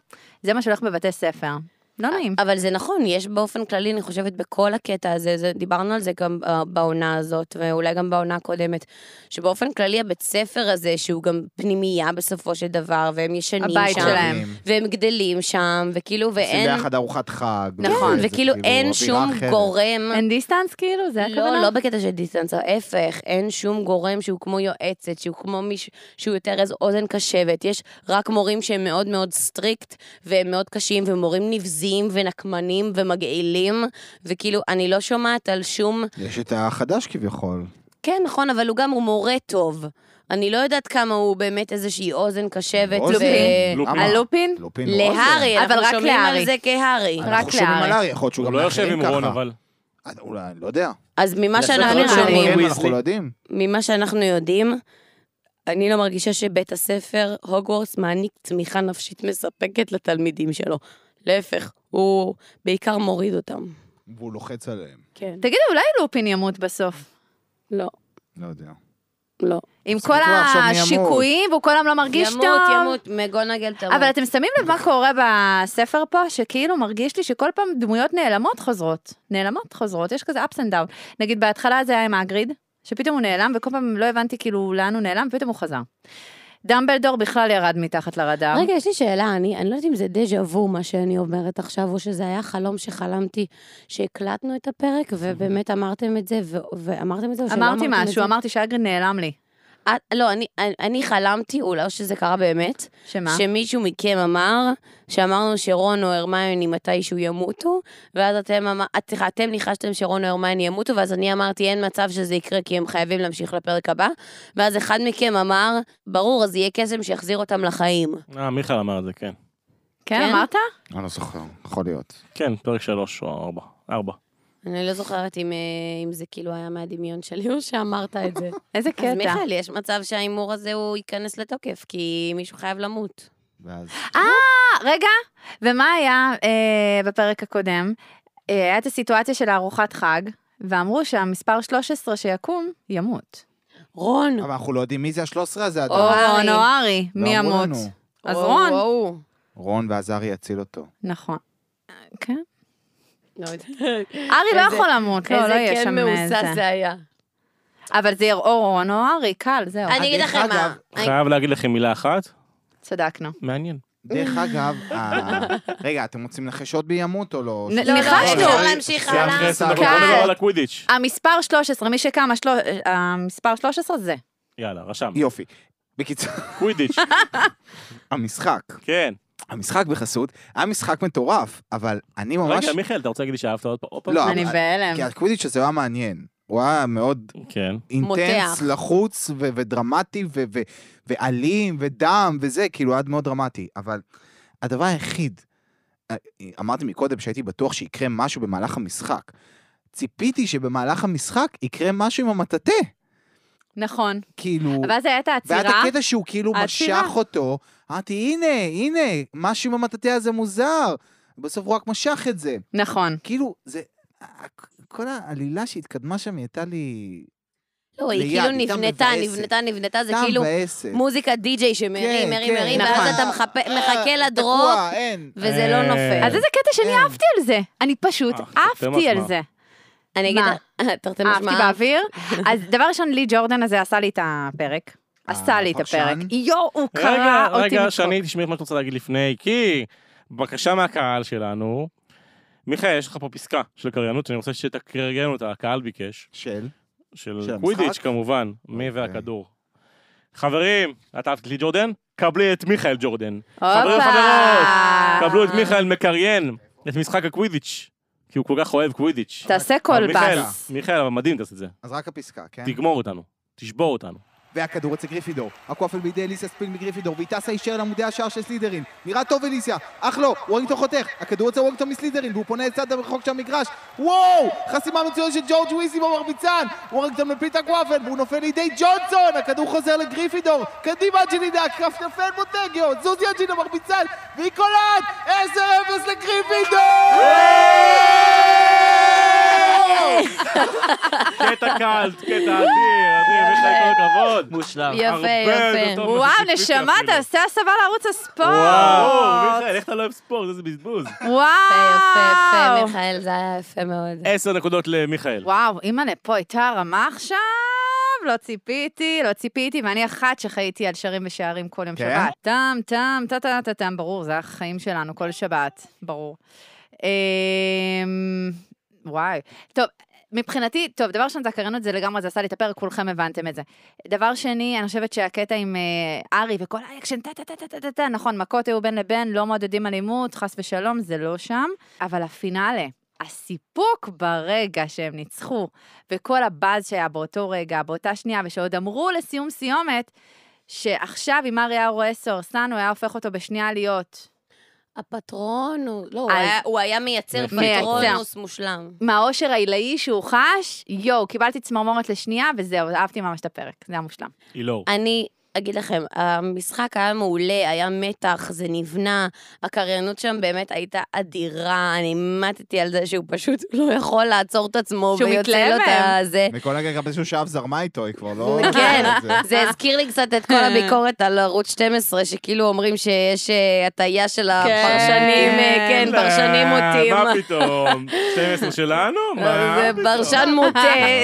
Speaker 5: זה מה שהולך בבתי ספר.
Speaker 2: אה,
Speaker 5: לא נעים.
Speaker 2: אבל זה נכון, יש באופן כללי, אני חושבת, בכל הקטע הזה, זה, דיברנו על זה גם אה, בעונה הזאת, ואולי גם בעונה הקודמת, שבאופן כללי הבית ספר הזה, שהוא גם פנימייה בסופו של דבר, והם ישנים
Speaker 5: הבית
Speaker 2: שם,
Speaker 5: שלהם.
Speaker 2: והם גדלים שם, וכאילו,
Speaker 4: עושים
Speaker 2: ואין...
Speaker 4: ביחד ארוחת חג.
Speaker 2: נכון,
Speaker 4: וזה
Speaker 2: וכאילו
Speaker 4: כאילו
Speaker 2: אין
Speaker 4: אווירה
Speaker 2: שום
Speaker 4: אחרת.
Speaker 2: גורם...
Speaker 5: אין דיסטנס כאילו? זה הכוונה?
Speaker 2: לא, לא בקטע של דיסטנס, ההפך, אין שום גורם שהוא כמו יועצת, שהוא כמו מישהו, שהוא יותר איזו אוזן קשבת. יש רק מורים שהם מאוד מאוד סטריקט, והם מאוד קשים, ומורים נבזיים ונקמנים ומגעילים, וכאילו, אני לא שומעת על שום...
Speaker 4: יש את החדש כביכול.
Speaker 2: כן, נכון, אבל הוא גם הוא מורה טוב. אני לא יודעת כמה הוא באמת איזושהי אוזן קשבת.
Speaker 4: אוזן?
Speaker 2: ו-
Speaker 1: לופין.
Speaker 4: למה? לא.
Speaker 5: הלופין?
Speaker 4: לופין הוא
Speaker 2: להארי,
Speaker 5: אבל
Speaker 2: אנחנו
Speaker 5: רק
Speaker 2: שומעים על
Speaker 5: להארי.
Speaker 2: זה כהארי.
Speaker 4: אוזן.
Speaker 5: רק
Speaker 4: אנחנו שומעים
Speaker 5: להארי.
Speaker 4: על הארי, יכול להיות שהוא
Speaker 1: הוא
Speaker 4: גם
Speaker 1: לא יושב עם
Speaker 4: לאחרים
Speaker 1: רון,
Speaker 4: ככה.
Speaker 1: אבל...
Speaker 4: אה, אולי, אני לא יודע.
Speaker 2: אז ממה
Speaker 1: לספר
Speaker 2: שאנחנו
Speaker 1: שלו
Speaker 2: שומעים...
Speaker 1: הוא
Speaker 4: כן, אנחנו
Speaker 1: ויזלי.
Speaker 4: לא יודעים.
Speaker 2: ממה שאנחנו יודעים, אני לא מרגישה שבית הספר, הוגוורטס, מעניק תמיכה נפשית מספקת לתלמידים שלו. להפך, הוא בעיקר מוריד אותם.
Speaker 4: והוא לוחץ עליהם.
Speaker 2: כן.
Speaker 5: תגידו, אולי לופין ימות בסוף?
Speaker 2: לא,
Speaker 4: לא יודע.
Speaker 2: לא.
Speaker 5: עם
Speaker 4: תפסיקו
Speaker 5: כל
Speaker 4: לחשוב מי ימות.
Speaker 5: השיקויים, והוא כל היום לא מרגיש טוב.
Speaker 2: ימות, ימות, מגונגל תמות.
Speaker 5: אבל אתם שמים לב מה קורה בספר פה, שכאילו מרגיש לי שכל פעם דמויות נעלמות חוזרות. נעלמות חוזרות, יש כזה ups and down. נגיד בהתחלה זה היה עם אגריד, שפתאום הוא נעלם, וכל פעם לא הבנתי כאילו לאן הוא נעלם, ופתאום הוא חזר. דמבלדור בכלל ירד מתחת לרדאר.
Speaker 2: רגע, יש לי שאלה, אני, אני לא יודעת אם זה דז'ה וו מה שאני אומרת עכשיו, או שזה היה חלום שחלמתי שהקלטנו את הפרק, ובאמת אמרתם את זה, ו, ואמרתם את זה, או שלא אמרתם
Speaker 5: אמרתי
Speaker 2: את זה.
Speaker 5: משהו, אמרתי שאגרן נעלם לי.
Speaker 2: את, לא, אני, אני, אני חלמתי, אולי או שזה קרה באמת,
Speaker 5: שמה?
Speaker 2: שמישהו מכם אמר, שאמרנו שרון או הרמיוני מתישהו ימותו, ואז אתם אמרתם, סליחה, אתם ניחשתם שרון או הרמיוני ימותו, ואז אני אמרתי, אין מצב שזה יקרה, כי הם חייבים להמשיך לפרק הבא, ואז אחד מכם אמר, ברור, אז יהיה קסם שיחזיר אותם לחיים.
Speaker 1: אה, מיכאל אמר את זה, כן.
Speaker 5: כן,
Speaker 2: כן?
Speaker 5: אמרת?
Speaker 4: אני לא זוכר, יכול להיות.
Speaker 1: כן, פרק שלוש או ארבע. ארבע.
Speaker 2: אני לא זוכרת אם, אה, אם זה כאילו היה מהדמיון שלי או שאמרת את זה.
Speaker 5: איזה קטע.
Speaker 2: אז מיכאל, יש מצב שההימור הזה הוא ייכנס לתוקף, כי מישהו חייב למות.
Speaker 4: ואז...
Speaker 5: אה, רגע, ומה היה אה, בפרק הקודם? אה, היה את הסיטואציה של הארוחת חג, ואמרו שהמספר 13 שיקום, ימות.
Speaker 2: רון!
Speaker 4: אבל אנחנו לא יודעים מי זה ה-13 הזה,
Speaker 5: או
Speaker 4: אדם.
Speaker 2: אוי,
Speaker 5: רון או ארי,
Speaker 4: לא
Speaker 5: מי
Speaker 4: אמרו
Speaker 5: ימות?
Speaker 4: לנו.
Speaker 5: אז
Speaker 2: וואו,
Speaker 5: רון.
Speaker 2: וואו.
Speaker 4: רון ואז ארי יציל אותו.
Speaker 5: נכון. כן.
Speaker 2: לא יודעת.
Speaker 5: ארי לא
Speaker 2: איזה-
Speaker 5: יכול למות, לא, לא יהיה שם
Speaker 2: איזה כן מאוסס זה היה.
Speaker 5: אבל זה יהיה או רון או ארי, קל, זהו.
Speaker 2: אני אגיד
Speaker 4: דרך
Speaker 2: לכם
Speaker 4: אגב,
Speaker 2: מה.
Speaker 5: אה.
Speaker 2: אני-
Speaker 1: חייב להגיד לכם מילה אחת,
Speaker 5: צדקנו.
Speaker 1: מעניין.
Speaker 4: דרך אגב, אה, רגע, אתם רוצים לנחש עוד בי ימות או לא?
Speaker 5: נ-
Speaker 2: לא, לא,
Speaker 5: ניחשנו.
Speaker 2: אפשר להמשיך
Speaker 1: זה
Speaker 2: הלאה.
Speaker 1: אחרי עשר דקות,
Speaker 5: קל.
Speaker 1: בוא נדבר על הקווידיץ'.
Speaker 5: המספר 13, מי שקם, השלו- המספר 13 זה.
Speaker 1: יאללה, רשם.
Speaker 4: יופי. בקיצור,
Speaker 1: קווידיץ',
Speaker 4: המשחק,
Speaker 1: כן.
Speaker 4: המשחק בחסות, היה משחק מטורף, אבל אני ממש...
Speaker 1: רגע, מיכאל, אתה רוצה להגיד לי שאהבת עוד פעם? עוד פעם?
Speaker 4: לא,
Speaker 5: אני
Speaker 4: אבל-
Speaker 5: בהלם.
Speaker 4: כי הקווידיץ' הזה היה מעניין. הוא היה מאוד
Speaker 1: כן.
Speaker 4: אינטנס,
Speaker 2: מותח.
Speaker 4: לחוץ ו- ודרמטי ו- ו- ואלים ודם וזה, כאילו, עד מאוד דרמטי. אבל הדבר היחיד, אה, אמרתי מקודם שהייתי בטוח שיקרה משהו במהלך המשחק. ציפיתי שבמהלך המשחק יקרה משהו עם המטאטא.
Speaker 5: נכון.
Speaker 4: כאילו...
Speaker 5: ואז היה את
Speaker 4: והיה את
Speaker 5: העצירה.
Speaker 4: הקטע שהוא כאילו
Speaker 5: העצירה.
Speaker 4: משך אותו, אמרתי, הנה, הנה, משהו עם המטאטא הזה מוזר. בסוף הוא רק משך את זה.
Speaker 5: נכון.
Speaker 4: כאילו, זה... הכ- כל העלילה שהתקדמה שם, היא הייתה לי...
Speaker 2: לא, היא
Speaker 4: ליד,
Speaker 2: כאילו
Speaker 4: איתם
Speaker 2: נבנתה,
Speaker 4: מבאסת.
Speaker 2: נבנתה, נבנתה, זה
Speaker 4: טעם
Speaker 2: כאילו
Speaker 4: ועשב.
Speaker 2: מוזיקת די-ג'יי שמרים,
Speaker 4: כן,
Speaker 2: מרים,
Speaker 4: כן,
Speaker 2: מרים,
Speaker 5: נכון.
Speaker 2: ואז אתה מחפה- מחכה
Speaker 4: אה,
Speaker 2: לדרופ,
Speaker 4: תקוע, אין.
Speaker 2: וזה לא
Speaker 1: אה.
Speaker 2: נופל.
Speaker 5: אז איזה קטע שאני
Speaker 4: כן.
Speaker 5: אהבתי על זה. אני פשוט
Speaker 1: אה, תרתי
Speaker 5: עפתי על
Speaker 1: משמע.
Speaker 5: זה.
Speaker 2: אני אגיד
Speaker 5: מה?
Speaker 2: לך, תרתי
Speaker 5: אהבתי
Speaker 2: משמע.
Speaker 5: באוויר. אז דבר ראשון, לי ג'ורדן הזה עשה לי את הפרק. עשה לי את
Speaker 4: אה, הפרשן?
Speaker 5: הפרק. יואו, הוא קרא
Speaker 1: רגע,
Speaker 5: אותי
Speaker 1: רגע,
Speaker 5: מצחוק.
Speaker 1: שני, תשמעי את מה שאת רוצה להגיד לפני, כי בקשה מהקהל שלנו, מיכאל, יש לך פה פסקה של קריינות, שאני רוצה שתקריין אותה, הקהל ביקש,
Speaker 4: של? של
Speaker 1: של
Speaker 4: המשחק?
Speaker 1: קווידיץ' כמובן, מי
Speaker 4: אוקיי.
Speaker 1: והכדור. חברים, את אהבת את לי ג'ורדן? קבלי את מיכאל ג'ורדן.
Speaker 5: הופה.
Speaker 1: חברים וחברות, קבלו את
Speaker 2: אה.
Speaker 1: מיכאל מקריין, את משחק הקווידיץ', כי הוא כל כך אוהב קווידיץ'.
Speaker 5: תעשה
Speaker 1: אבל
Speaker 5: כל
Speaker 1: אה, מיכאל,
Speaker 5: פס.
Speaker 1: מיכאל, אבל מדהים תעשה את זה.
Speaker 4: אז רק הפסקה, כן?
Speaker 1: תגמור אותנו, תשבור אותנו.
Speaker 4: והכדור אצל גריפידור. הכואפל בידי אליסה ספיל מגריפידור, והיא טסה ישר לעמודי השער של סלידרין. נראה טוב אליסה, אך לא, וורינגטון חותך. הכדור אצל וורינגטון מסלידרין, והוא פונה לצד הרחוק של המגרש. וואו! חסימה מצוינת של ג'ורג' וויזי במרביצן! וורינגטון מפיל את הכואפל, והוא נופל לידי ג'ונסון! הכדור חוזר לגריפידור! קדימה ג'ילידה, כף נפל מוטגיו! זוזי הג'ין המרביצן! והיא קולעת! 10-0 לגריפידור!
Speaker 1: קטע קל, קטע אדיר, אדיר, מיכאל, כל הכבוד.
Speaker 3: מושלם.
Speaker 2: יפה,
Speaker 1: הרבה
Speaker 2: יפה.
Speaker 1: יותר טוב
Speaker 5: וואו,
Speaker 1: מציפי
Speaker 5: נשמה,
Speaker 1: אפילו.
Speaker 5: תעשה הסבה לערוץ
Speaker 1: וואו,
Speaker 5: הספורט.
Speaker 1: מיכאל, איך אתה לא אוהב ספורט? איזה בזבוז.
Speaker 5: וואו.
Speaker 2: יפה, יפה, יפה, מיכאל, זה היה יפה מאוד.
Speaker 1: עשר נקודות למיכאל.
Speaker 5: וואו, אימא'לה, פה הייתה הרמה עכשיו? לא ציפיתי, לא ציפיתי, ואני אחת שחייתי על שרים ושערים כל יום
Speaker 4: כן?
Speaker 5: שבת. טם, טם, טה טה טה טם, ברור, זה החיים שלנו כל שבת, ברור. אמ, וואי. טוב, מבחינתי, טוב, דבר ראשון, זה הקריינות זה לגמרי, זה עשה לי את הפרק, כולכם הבנתם את זה. דבר שני, אני חושבת שהקטע עם אה, ארי וכל האקשן, טה טה טה טה טה טה טה, נכון, מכות היו בין לבין, לא מעודדים אלימות, חס ושלום, זה לא שם. אבל הפינאלה, הסיפוק ברגע שהם ניצחו, וכל הבאז שהיה באותו רגע, באותה שנייה, ושעוד אמרו לסיום סיומת, שעכשיו אם ארי היה רואה סוהרסן, הוא היה הופך אותו בשנייה להיות
Speaker 2: הפטרון הוא... לא, הוא
Speaker 4: אה,
Speaker 5: אז-
Speaker 2: היה- הוא היה מייצר
Speaker 1: מייצר.
Speaker 2: פטרונוס מושלם.
Speaker 5: מהאושר העילאי שהוא חש, יואו, קיבלתי צמרמורת לשנייה, וזהו, אהבתי ממש את הפרק, זה היה מושלם.
Speaker 1: אילור.
Speaker 2: אני אגיד לכם, המשחק היה מעולה, היה מתח, זה נבנה, הקריינות שם באמת הייתה אדירה, אני מתתי על זה שהוא פשוט לא יכול לעצור את עצמו
Speaker 5: שהוא
Speaker 2: ויוצא
Speaker 5: מתלהב
Speaker 2: לו את
Speaker 5: מהם.
Speaker 2: הזה.
Speaker 4: מכל רגע גם איזשהו שאף זרמה איתו, היא כבר לא...
Speaker 2: כן.
Speaker 4: את זה.
Speaker 2: זה הזכיר לי קצת את כל
Speaker 5: כן.
Speaker 2: הביקורת על ערוץ 12, שכאילו אומרים שיש אה, הטעיה
Speaker 5: כן.
Speaker 2: של הפרשנים, אה, כן, פרשנים מוטים.
Speaker 1: אה,
Speaker 2: אה,
Speaker 1: מה פתאום? 12 שלנו? מה
Speaker 2: זה
Speaker 1: פתאום?
Speaker 2: פרשן מוטה,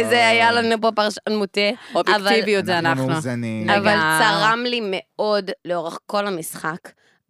Speaker 2: זה היה לנו פה פרשן מוטה.
Speaker 5: אובייקטיביות זה
Speaker 4: אנחנו
Speaker 5: אנחנו.
Speaker 4: מאוזנים.
Speaker 5: לגמרי.
Speaker 2: אבל צרם לי מאוד לאורך כל המשחק.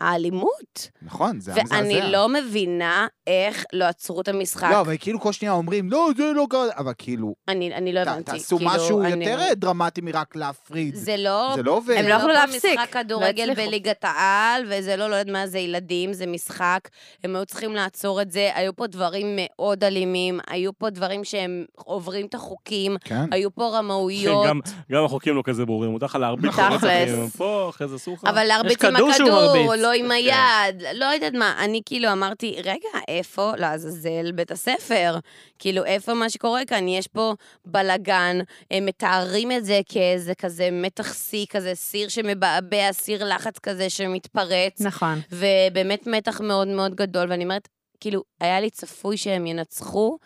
Speaker 2: האלימות,
Speaker 4: נכון, זה היה מזעזע.
Speaker 2: ואני לא מבינה איך לא עצרו את המשחק.
Speaker 4: לא, אבל כאילו כל שנייה אומרים, לא, זה לא קרה, אבל כאילו,
Speaker 2: אני אני לא
Speaker 4: ת-
Speaker 2: הבנתי.
Speaker 4: תעשו
Speaker 2: כאילו,
Speaker 4: משהו
Speaker 2: אני-
Speaker 4: יותר דרמטי מרק להפריד.
Speaker 2: זה לא...
Speaker 4: זה לא עובד.
Speaker 5: הם לא יכלו להפסיק,
Speaker 2: זה משחק
Speaker 5: לא
Speaker 2: כדורגל
Speaker 5: הצליחו.
Speaker 2: בליגת העל, וזה לא, לא יודעת מה זה ילדים, זה משחק. הם היו צריכים לעצור את זה. היו פה דברים מאוד אלימים, היו פה דברים שהם עוברים את החוקים,
Speaker 4: כן.
Speaker 2: היו פה רמאויות.
Speaker 1: גם- גם החוקים לא כזה ברורים, מותר לך להרביץ.
Speaker 5: נכון.
Speaker 1: לא צריך,
Speaker 5: תכלס.
Speaker 1: פה, אחרי זה אסור לך.
Speaker 2: אבל להרביץ עם
Speaker 3: כדור שהוא
Speaker 2: הכדור,
Speaker 3: מרביץ.
Speaker 2: לא
Speaker 5: כן.
Speaker 2: עם היד, לא יודעת מה. אני כאילו אמרתי, רגע, איפה לעזאזל בית הספר? כאילו, איפה מה שקורה כאן? יש פה בלגן, הם מתארים את זה כאיזה כזה מתח שיא, כזה סיר שמבעבע, סיר לחץ כזה שמתפרץ.
Speaker 5: נכון.
Speaker 2: ובאמת מתח מאוד מאוד גדול, ואני אומרת, כאילו, היה לי צפוי שהם ינצחו,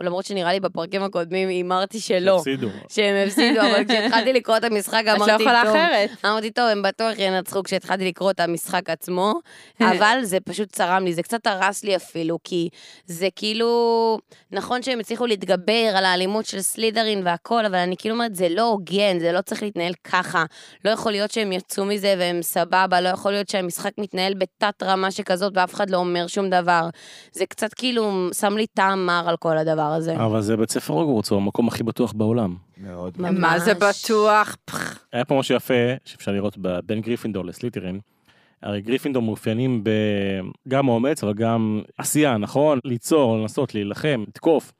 Speaker 2: למרות שנראה לי בפרקים הקודמים הימרתי שלא,
Speaker 1: הפסידו.
Speaker 2: שהם הפסידו, אבל כשהתחלתי לקרוא את המשחק
Speaker 5: את לא
Speaker 2: אמרתי,
Speaker 5: יכולה
Speaker 2: טוב,
Speaker 5: אחרת.
Speaker 2: אמרתי, טוב, הם בטוח ינצחו כשהתחלתי לקרוא את המשחק עצמו, אבל זה פשוט צרם לי, זה קצת הרס לי אפילו, כי זה כאילו, נכון שהם הצליחו להתגבר על האלימות של סלידרין והכל, אבל אני כאילו אומרת, זה לא הוגן, זה לא צריך להתנהל ככה. לא יכול להיות שהם יצאו מזה והם סבבה, לא יכול להיות שהמשחק מתנהל בתת רמה שכזאת ואף אחד לא אומר שום דבר. זה קצת כאילו שם לי טעם מר על כל הדבר הזה.
Speaker 1: אבל זה בית ספר הוגוורטס, הוא המקום הכי בטוח בעולם.
Speaker 4: מאוד.
Speaker 2: ממש.
Speaker 5: מה זה בטוח?
Speaker 1: היה פה משהו יפה שאפשר לראות ב- בין גריפינדור לסליטרין. הרי גריפינדור מאופיינים בגם אומץ אבל גם עשייה, נכון? ליצור, לנסות, להילחם, לתקוף.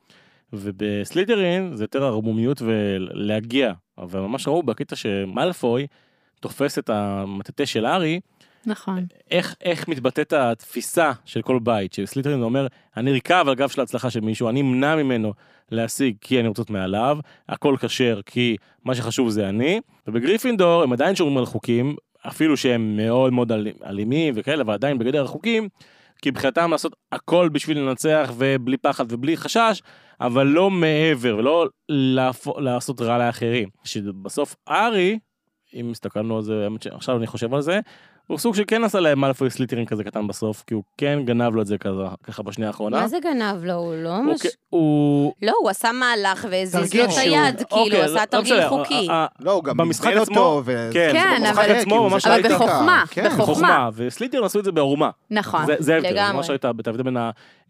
Speaker 1: ובסליטרין זה יותר ערמומיות ולהגיע. אבל ממש ראו בקטע שמאלפוי תופס את המטאטה של הארי,
Speaker 5: נכון.
Speaker 1: איך, איך מתבטאת התפיסה של כל בית, שסליטרין אומר, אני ארכב על גב של ההצלחה של מישהו, אני אמנע ממנו להשיג כי אני רוצות מעליו, הכל כשר כי מה שחשוב זה אני, ובגריפינדור הם עדיין שומרים על חוקים, אפילו שהם מאוד מאוד אל- אלימים וכאלה, אבל עדיין בגדר החוקים, כי מבחינתם לעשות הכל בשביל לנצח ובלי פחד ובלי חשש, אבל לא מעבר, ולא להפו- לעשות רע לאחרים. שבסוף ארי, אם הסתכלנו על זה, האמת שעכשיו אני חושב על זה, הוא סוג של כן עשה להם מאלפוי סליטרין כזה קטן בסוף, כי הוא כן גנב לו את זה כזה, ככה בשנייה האחרונה.
Speaker 2: מה זה גנב לו? הוא לא
Speaker 1: הוא
Speaker 2: ממש...
Speaker 1: כ- הוא...
Speaker 2: לא, הוא עשה מהלך והזיז
Speaker 4: תרגיל
Speaker 2: לו את
Speaker 4: שהוא-
Speaker 2: היד, כאילו,
Speaker 1: אוקיי,
Speaker 2: הוא עשה
Speaker 1: לא
Speaker 2: תרגיל
Speaker 1: משנה,
Speaker 2: חוקי.
Speaker 1: ה- ה-
Speaker 4: לא, הוא גם
Speaker 1: במשחק
Speaker 4: בלבל
Speaker 1: עצמו-
Speaker 4: אותו, ו...
Speaker 1: כן,
Speaker 5: כן,
Speaker 1: במשחק
Speaker 5: אבל-
Speaker 1: עצמו ממש לא
Speaker 5: אבל
Speaker 1: ראית-
Speaker 5: בחוכמה,
Speaker 4: כן.
Speaker 5: בחוכמה.
Speaker 1: בחוכמה, וסליטרין עשו את זה בעורמה.
Speaker 5: נכון.
Speaker 1: זה- זה ההבדל, זה
Speaker 2: לגמרי.
Speaker 1: ממש הייתה, את ההבדל בין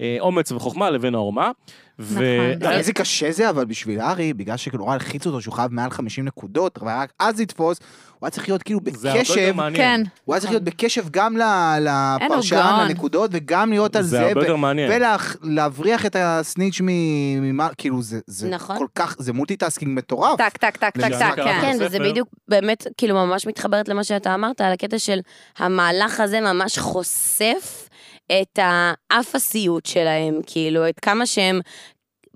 Speaker 1: האומץ וחוכמה לבין העורמה. ו-
Speaker 5: נכון.
Speaker 1: אה,
Speaker 4: איזה קשה זה אבל בשביל ארי, בגלל שנורא הלחיצו אותו שהוא חייב מעל 50 נקודות, ורק אז לתפוס, הוא היה צריך להיות כאילו
Speaker 1: זה הרבה יותר
Speaker 4: בקשב,
Speaker 1: מעניין.
Speaker 5: כן.
Speaker 4: הוא היה צריך להיות בקשב גם ל-
Speaker 5: אין, הוא
Speaker 4: לפרשן,
Speaker 5: גאון.
Speaker 4: לנקודות, וגם להיות על
Speaker 1: זה
Speaker 4: זה,
Speaker 1: הרבה
Speaker 4: ו-
Speaker 1: יותר מעניין.
Speaker 4: ולהבריח את הסניץ' מ- ממה, כאילו זה, זה
Speaker 2: נכון.
Speaker 4: כל כך, זה מולטיטאסקינג מטורף.
Speaker 5: טק, טק, טק, טק,
Speaker 1: למשחק
Speaker 5: טק,
Speaker 4: אה,
Speaker 5: כן.
Speaker 1: הרב.
Speaker 2: כן, וזה
Speaker 1: הספר.
Speaker 2: בדיוק באמת, כאילו, ממש מתחברת למה שאתה אמרת, על הקטע של המהלך הזה ממש חושף את האפסיות שלהם, כאילו, את כמה שהם...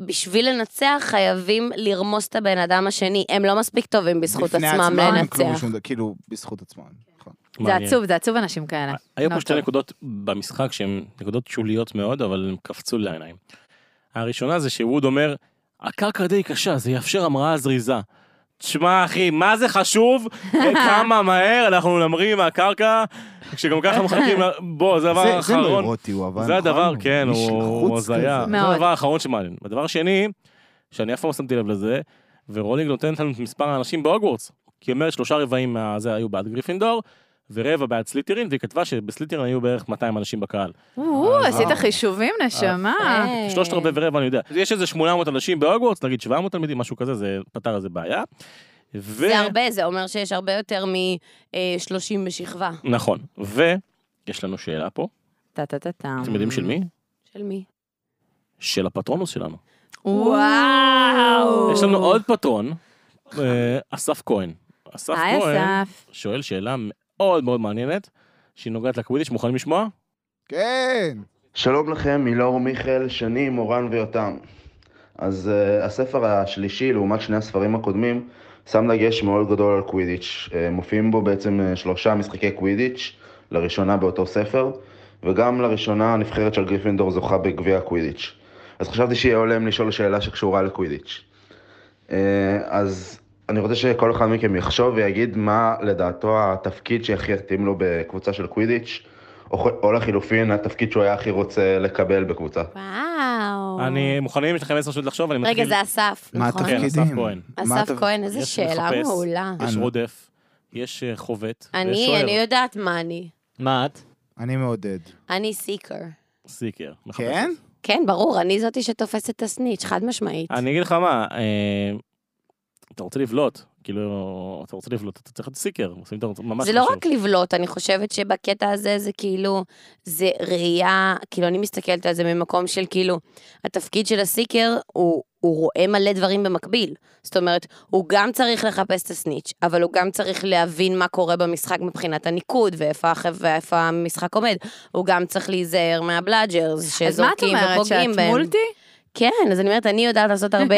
Speaker 2: בשביל לנצח חייבים לרמוס את הבן אדם השני, הם לא מספיק טובים בזכות
Speaker 4: בפני
Speaker 2: עצמם
Speaker 4: עצמם הם כלום
Speaker 2: לנצח.
Speaker 4: ושום דבר, כאילו, בזכות עצמם. נכון.
Speaker 5: זה
Speaker 1: מעניין.
Speaker 5: עצוב, זה עצוב אנשים כאלה.
Speaker 1: היו פה
Speaker 5: לא
Speaker 1: שתי
Speaker 5: טוב.
Speaker 1: נקודות במשחק שהן נקודות שוליות מאוד, אבל הן קפצו לי לעיניים. הראשונה זה שווד אומר, הקרקע די קשה, זה יאפשר המראה זריזה. תשמע אחי, מה זה חשוב? כמה מהר אנחנו נמריא מהקרקע, כשגם ככה מחכים, ל- בוא, זה הדבר
Speaker 4: זה- זה
Speaker 1: האחרון.
Speaker 4: נוירוטי הוא, אבל
Speaker 1: זה
Speaker 4: נכון,
Speaker 1: הדבר, כן,
Speaker 4: איש
Speaker 1: הוא הוא
Speaker 4: לחוץ
Speaker 1: הזיה.
Speaker 4: כזה.
Speaker 1: זה
Speaker 5: מאוד.
Speaker 1: הדבר האחרון שמעניין. הדבר השני, שאני אף פעם לא שמתי לב לזה, ורולינג נותנת לנו את מספר האנשים בהוגוורטס. כי היא אומרת שלושה רבעים מהזה היו בעד גריפינדור, ורבע בעד סליטרין, והיא כתבה שבסליטרין היו בערך 200 אנשים בקהל.
Speaker 5: או,
Speaker 4: אה.
Speaker 5: עשית חישובים, נשמה.
Speaker 2: אה.
Speaker 1: שלושת רבעי ורבע אני יודע. יש איזה 800 אנשים בהוגוורטס, נגיד 700 תלמידים, משהו כזה, זה פתר איזה בעיה. ו...
Speaker 2: זה הרבה, זה אומר שיש הרבה יותר מ-30 בשכבה.
Speaker 1: נכון. ויש לנו שאלה פה,
Speaker 5: טה טה טה טה.
Speaker 1: אתם יודעים של מי?
Speaker 2: של מי?
Speaker 1: של הפטרונוס שלנו.
Speaker 5: וואו.
Speaker 1: יש לנו עוד פטרון, אה, אסף כהן. אסף
Speaker 5: היי,
Speaker 1: כהן.
Speaker 5: אסף.
Speaker 1: שואל שאלה מאוד מאוד מעניינת, שהיא נוגעת לקווידיץ', מוכנים לשמוע?
Speaker 4: כן.
Speaker 6: שלום לכם, מילור מיכאל, שני, אה, מורן ויותם. אז uh, הספר השלישי, לעומת שני הספרים הקודמים, שם דגש מאוד גדול על קווידיץ'. אה, מופיעים בו בעצם אה, שלושה משחקי קווידיץ', לראשונה באותו ספר, וגם לראשונה הנבחרת של גריפינדור זוכה בגביע הקווידיץ'. אז חשבתי שיהיה הולם לשאול שאלה שקשורה לקווידיץ'. אה, אז אני רוצה שכל אחד מכם יחשוב ויגיד מה לדעתו התפקיד שהכי יתאים לו בקבוצה של קווידיץ', או, או לחילופין התפקיד שהוא היה הכי רוצה לקבל בקבוצה.
Speaker 2: וואו.
Speaker 1: אני מוכנים, יש לכם עשר שניות לחשוב, אני מתחיל.
Speaker 2: רגע, זה אסף,
Speaker 4: מה
Speaker 2: נכון?
Speaker 1: כן,
Speaker 4: התפקיד?
Speaker 1: אסף
Speaker 4: תפקידים.
Speaker 1: כהן.
Speaker 4: מה
Speaker 2: אסף
Speaker 4: אתה-
Speaker 2: כהן, איזה
Speaker 1: יש
Speaker 2: שאלה
Speaker 1: לחפש.
Speaker 2: מעולה.
Speaker 1: יש
Speaker 4: אני-
Speaker 1: רודף, יש אה, חובט, ויש
Speaker 2: אני,
Speaker 1: שוער.
Speaker 2: אני יודעת מה אני.
Speaker 3: מה את?
Speaker 4: אני מעודד.
Speaker 2: אני סיקר.
Speaker 1: סיקר. מחפשת.
Speaker 4: כן?
Speaker 2: כן, ברור, אני זאתי שתופסת את הסניץ', חד משמעית.
Speaker 1: אני אגיד לך מה, אה, אתה רוצה לבלוט, כאילו, אתה רוצה לבלוט, אתה צריך להיות סיקר, עושים את זה ממש
Speaker 2: זה לא
Speaker 1: חשוב.
Speaker 2: רק לבלוט, אני חושבת שבקטע הזה זה כאילו, זה ראייה, כאילו אני מסתכלת על זה ממקום של כאילו, התפקיד של הסיקר הוא, הוא רואה מלא דברים במקביל. זאת אומרת, הוא גם צריך לחפש את הסניץ', אבל הוא גם צריך להבין מה קורה במשחק מבחינת הניקוד, ואיפה, הח- ואיפה המשחק עומד. הוא גם צריך להיזהר מהבלאג'רס
Speaker 5: אז מה את
Speaker 2: שזורקים
Speaker 5: אומרת,
Speaker 2: ופוגעים
Speaker 5: שאת
Speaker 2: בהם.
Speaker 5: מולטי?
Speaker 2: כן, אז אני אומרת, אני יודעת לעשות הרבה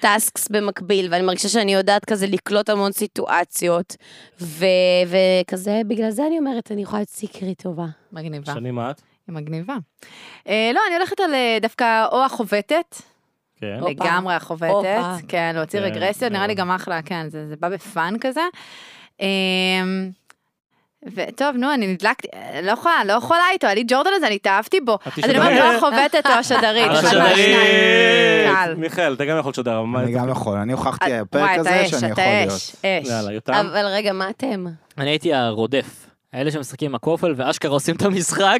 Speaker 2: טאסקס במקביל, ואני מרגישה שאני יודעת כזה לקלוט המון סיטואציות, ו- וכזה, בגלל זה אני אומרת, אני יכולה להיות סיקרי טובה.
Speaker 5: מגניבה.
Speaker 1: שני מה את?
Speaker 5: היא מגניבה. אה, לא, אני הולכת על אה, דווקא או החובטת,
Speaker 1: כן.
Speaker 2: הופה.
Speaker 5: לגמרי החובטת,
Speaker 2: הופה.
Speaker 5: כן, להוציא
Speaker 1: כן,
Speaker 5: רגרסיות, נראה לי
Speaker 1: לגמרי.
Speaker 5: גם אחלה, כן, זה זה בא בפאן כזה. אמ, וטוב, נו, אני נדלקתי, אה, לא יכולה, לא יכולה איתו, אני ג'ורדן הזה, אני התאהבתי בו.
Speaker 1: את
Speaker 5: אז אני אומרת, לא
Speaker 1: תשדרי.
Speaker 5: או החובטת או השדרית.
Speaker 1: אה,
Speaker 5: אחד מהשניים. לא קל.
Speaker 1: שדרית! מיכאל, אתה גם יכול לשדר, מה-
Speaker 4: אני גם יכול, אני הוכחתי
Speaker 2: אה,
Speaker 4: על הפרק
Speaker 5: וואי, אתה
Speaker 4: הזה
Speaker 5: אש,
Speaker 4: שאני
Speaker 5: אתה
Speaker 4: יכול
Speaker 5: אש,
Speaker 4: להיות.
Speaker 5: אש.
Speaker 1: יאללה, יותם.
Speaker 2: אבל רגע, מה אתם?
Speaker 3: אני הייתי הרודף. האלה שמשחקים עם הכופל ואשכרה עושים את המשחק.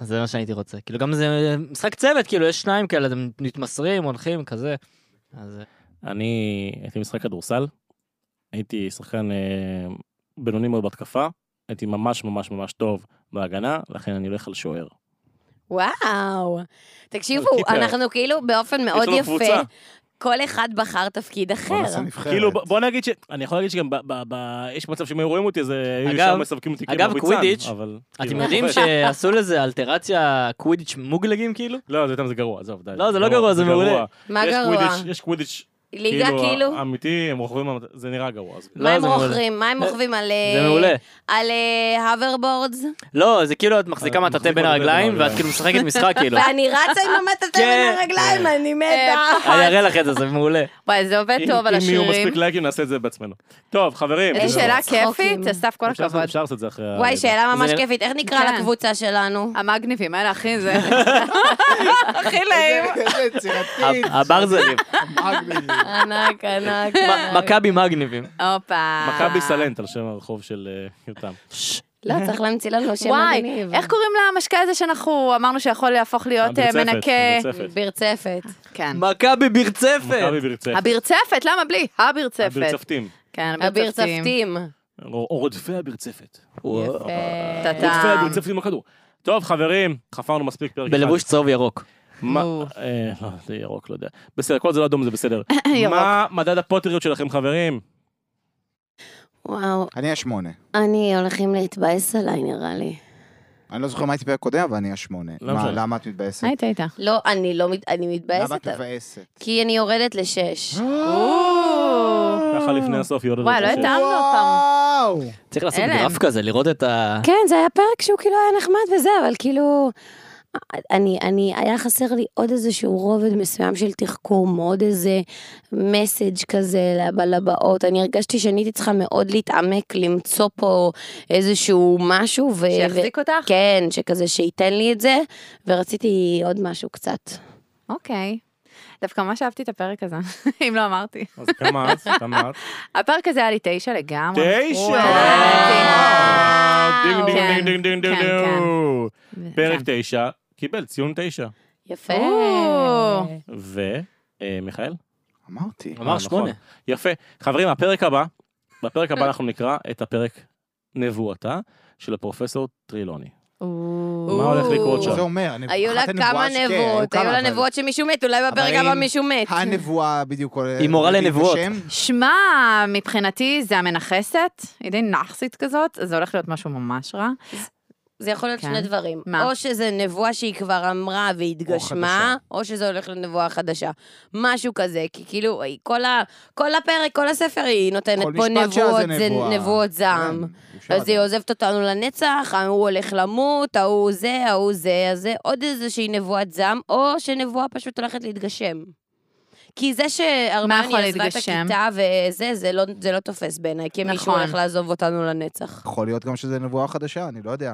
Speaker 3: אז זה מה שאני הייתי רוצה. כאילו גם זה משחק צוות, כאילו יש שניים כאלה, אתם מתמסרים, הולכים, כזה. אז אה,
Speaker 1: אני הייתי משחק כדורסל, הייתי שחקן אה, בינוני מאוד בהתקפה, הייתי ממש ממש ממש טוב בהגנה, לכן אני הולך על שוער.
Speaker 2: וואו. תקשיבו,
Speaker 1: על קיקר.
Speaker 2: אנחנו כאילו באופן מאוד
Speaker 1: לנו קבוצה.
Speaker 2: יפה, כל אחד בחר תפקיד
Speaker 4: בוא
Speaker 2: אחר.
Speaker 4: נעשה נבחרת.
Speaker 1: כאילו, ב- בוא נגיד ש... אני יכול להגיד שגם ב... ב- ב- יש מצב שאם היו רואים אותי, אז אה, היו
Speaker 3: אגב-
Speaker 1: ישר מספקים אותי
Speaker 3: אגב,
Speaker 1: כמריצן,
Speaker 3: קווידיץ',
Speaker 1: אבל...
Speaker 3: אתם
Speaker 1: כאילו,
Speaker 3: יודעים
Speaker 1: חובט.
Speaker 3: שעשו לזה אלטרציה קווידיץ' מוגלגים כאילו?
Speaker 1: לא, זה יותר זה גרוע, עזוב, די.
Speaker 3: לא, זה לא גרוע, זה מעולה.
Speaker 2: מה
Speaker 1: יש
Speaker 2: גרוע?
Speaker 1: קווידיץ', יש קווידיץ',
Speaker 2: ליגה כאילו?
Speaker 1: אמיתי, הם רוכבים, על- זה נראה גרוע. אז-
Speaker 3: אה, לא,
Speaker 2: מה הם
Speaker 3: זה מעולה.
Speaker 2: רוכבים? מה הם
Speaker 3: זה-
Speaker 2: רוכבים על...
Speaker 3: זה
Speaker 2: אה,
Speaker 3: מעולה.
Speaker 2: על אה, האוברבורדס?
Speaker 3: לא, זה כאילו את מחזיקה
Speaker 1: אה,
Speaker 3: מטאטא
Speaker 1: מחזיק
Speaker 3: בין
Speaker 1: מטאטא
Speaker 3: הרגליים,
Speaker 1: בין
Speaker 3: ואת
Speaker 1: הרגליים.
Speaker 3: כאילו משחקת משחק כאילו.
Speaker 2: ואני רצה עם המטאטא בין
Speaker 3: כן.
Speaker 2: הרגליים, אני מתה.
Speaker 5: אה,
Speaker 3: אני אראה לך את זה, זה מעולה.
Speaker 5: וואי, זה עובד
Speaker 1: אם-
Speaker 5: טוב על
Speaker 1: אם יהיו מספיק
Speaker 5: השירים.
Speaker 1: לייקים, נעשה את זה בעצמנו. טוב, חברים.
Speaker 5: איזה
Speaker 1: זהו.
Speaker 5: שאלה
Speaker 2: צחוקים.
Speaker 5: כיפית, אסף, כל
Speaker 1: אפשר לעשות-
Speaker 5: הכבוד.
Speaker 1: אפשר לעשות את אה, זה אחרי...
Speaker 2: וואי,
Speaker 1: הלידה.
Speaker 2: שאלה ממש
Speaker 3: זה-
Speaker 2: כיפית, איך נקרא
Speaker 5: כן.
Speaker 2: לקבוצה שלנו?
Speaker 5: המגניבים, האלה, אחי, זה... הכי לעים.
Speaker 4: איזה יצירתית.
Speaker 3: הברזלים.
Speaker 4: מגניב.
Speaker 2: ענק, ענק.
Speaker 3: מ- מכבי מגניבים.
Speaker 5: הופה.
Speaker 1: מכבי סלנט על שם הרחוב של אה, יותם.
Speaker 2: לא, צריך להמציא לנו שם
Speaker 5: וואי,
Speaker 2: מגניב.
Speaker 5: איך קוראים למשקה הזה שאנחנו אמרנו שיכול להפוך להיות אה,
Speaker 1: הברצפת,
Speaker 5: מנקה?
Speaker 1: הברצפת.
Speaker 2: ברצפת.
Speaker 5: כן.
Speaker 3: מכבי ברצפת!
Speaker 1: מכבי ברצפת.
Speaker 5: הברצפת, למה בלי? הברצפת.
Speaker 1: הברצפתים.
Speaker 5: כן,
Speaker 2: הברצפתים.
Speaker 5: הברצפתים.
Speaker 1: או- או רודפי הברצפת. וואו.
Speaker 5: טה-טה.
Speaker 1: רודפי הברצפת עם הכדור. טוב, חברים, חפרנו מספיק פרק אחד.
Speaker 3: בלבוש צהוב ירוק.
Speaker 1: מה-
Speaker 5: נו.
Speaker 1: אה, לא, זה ירוק, לא יודע. בסדר, כל זה לא אדום, זה בסדר.
Speaker 5: ירוק.
Speaker 1: מה מדד הפוטריות שלכם, חברים?
Speaker 2: וואו,
Speaker 4: אני השמונה.
Speaker 2: אני הולכים להתבאס עליי, נראה לי.
Speaker 4: אני לא זוכר מה הייתי בפרק קודם, אבל אני השמונה.
Speaker 1: לא
Speaker 4: מה,
Speaker 1: משנה.
Speaker 4: למה את מתבאסת?
Speaker 5: היית, היית.
Speaker 2: לא, אני לא, מת- אני
Speaker 4: למה
Speaker 2: מתבאסת,
Speaker 4: את מבאסת?
Speaker 2: כי אני יורדת לשש. אה!
Speaker 1: ככה לפני הסוף יורדת.
Speaker 5: וואי, לא
Speaker 1: לשש.
Speaker 5: התאמנו אותם.
Speaker 4: וואו!
Speaker 3: צריך לעשות
Speaker 5: הלם.
Speaker 3: גרף כזה, לראות את
Speaker 1: אה,
Speaker 3: ה...
Speaker 2: כן, זה היה פרק שהוא כאילו היה נחמד וזה, אבל כאילו... אני, אני, היה חסר לי עוד איזשהו רובד מסוים של תחכום, עוד איזה מסאג' כזה לבלבאות. אני הרגשתי שאני הייתי צריכה מאוד להתעמק, למצוא פה איזשהו משהו. ו-
Speaker 5: שיחזיק אותך?
Speaker 2: כן, שכזה שייתן לי את זה, ורציתי עוד משהו קצת.
Speaker 5: אוקיי. דווקא ממש אהבתי את הפרק הזה, אם לא אמרתי.
Speaker 1: אז כמה את? כמה את?
Speaker 5: הפרק הזה היה לי תשע לגמרי.
Speaker 1: תשע!
Speaker 5: וואו.
Speaker 1: דינג דינג
Speaker 5: כן,
Speaker 1: דינג דינג דינג דינג
Speaker 5: כן,
Speaker 1: דינג. פרק
Speaker 5: כן.
Speaker 1: תשע, קיבל ציון תשע.
Speaker 2: יפה. אה.
Speaker 5: או.
Speaker 1: ומיכאל?
Speaker 4: אמרתי.
Speaker 1: אה,
Speaker 3: אמר
Speaker 1: נכון.
Speaker 3: שמונה.
Speaker 1: יפה. חברים, הפרק הבא, בפרק הבא אנחנו נקרא את הפרק נבואתה של הפרופסור טרילוני.
Speaker 5: או.
Speaker 1: מה הולך לקרות
Speaker 4: זה
Speaker 1: שם?
Speaker 4: אומר, הנבואה-
Speaker 2: היו לה
Speaker 4: אחת הנבואה
Speaker 2: כמה
Speaker 4: ש- כן,
Speaker 2: נבואות, היו
Speaker 4: כמה,
Speaker 2: לה
Speaker 4: אבל
Speaker 2: נבואות שמישהו מת, אולי בפרק
Speaker 4: אבל
Speaker 2: הבא
Speaker 4: אם
Speaker 2: מישהו מת.
Speaker 4: הנבואה בדיוק עולה-
Speaker 3: היא מורה
Speaker 4: לפי
Speaker 3: לנבואות.
Speaker 4: שם.
Speaker 5: שמע, מבחינתי זה המנכסת, היא די נאחסית כזאת, אז זה הולך להיות משהו ממש רע.
Speaker 2: זה יכול להיות
Speaker 5: כן.
Speaker 2: שני דברים.
Speaker 5: מה?
Speaker 2: או שזה נבואה שהיא כבר אמרה והתגשמה, או, שזה הולך לנבואה חדשה. משהו כזה, כי כאילו, היא- כל, ה, כל הפרק, כל הספר היא נותנת
Speaker 4: כל
Speaker 2: פה
Speaker 4: משפט שלה
Speaker 2: נבואות,
Speaker 4: זה
Speaker 2: זה
Speaker 4: נבואה.
Speaker 2: נבואות זעם.
Speaker 4: כן, אפשר
Speaker 2: אז היא
Speaker 4: לדעת.
Speaker 2: עוזבת אותנו לנצח, ההוא הולך למות, ההוא זה, ההוא זה, אז זה עוד איזושהי נבואת זעם, או שנבואה פשוט הולכת להתגשם. כי זה
Speaker 5: יכול
Speaker 2: שהרמני עזבה את
Speaker 5: להתגשם?
Speaker 2: הכיתה וזה, זה לא, זה לא תופס בעיניי, כי מישהו
Speaker 5: נכון.
Speaker 2: הולך לעזוב אותנו לנצח.
Speaker 4: יכול להיות גם שזה נבואה חדשה, אני לא יודע.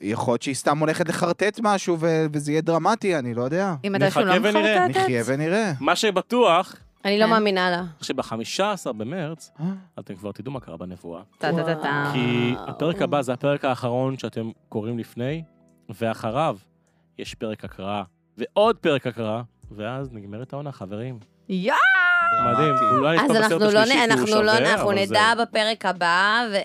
Speaker 4: יכול להיות שהיא סתם הולכת לחרטט משהו ו- וזה יהיה דרמטי, אני לא יודע.
Speaker 5: אם אתה שהוא לא
Speaker 1: נחכה ונראה.
Speaker 5: מחרטטת?
Speaker 4: נחיה ונראה.
Speaker 1: מה שבטוח,
Speaker 2: אני לא
Speaker 5: כן.
Speaker 2: מאמינה לה.
Speaker 1: שב-15 במרץ, אתם כבר תדעו מה קרה בנבואה.
Speaker 5: טה-טה-טה-טה.
Speaker 1: כי
Speaker 2: וואו.
Speaker 1: הפרק הבא זה הפרק האחרון שאתם קוראים לפני, ואחריו יש פרק הקראה, ועוד פרק הקראה, ואז נגמרת העונה, חברים.
Speaker 5: יואו!
Speaker 4: אה,
Speaker 1: מדהים, אולי
Speaker 2: אז
Speaker 1: נכתוב בסרט
Speaker 2: אנחנו לא, נ-
Speaker 1: השלישי כי הוא
Speaker 2: אנחנו לא,
Speaker 1: שווה,
Speaker 2: אנחנו
Speaker 1: אבל זה-
Speaker 2: נדע בפרק הבא, ו...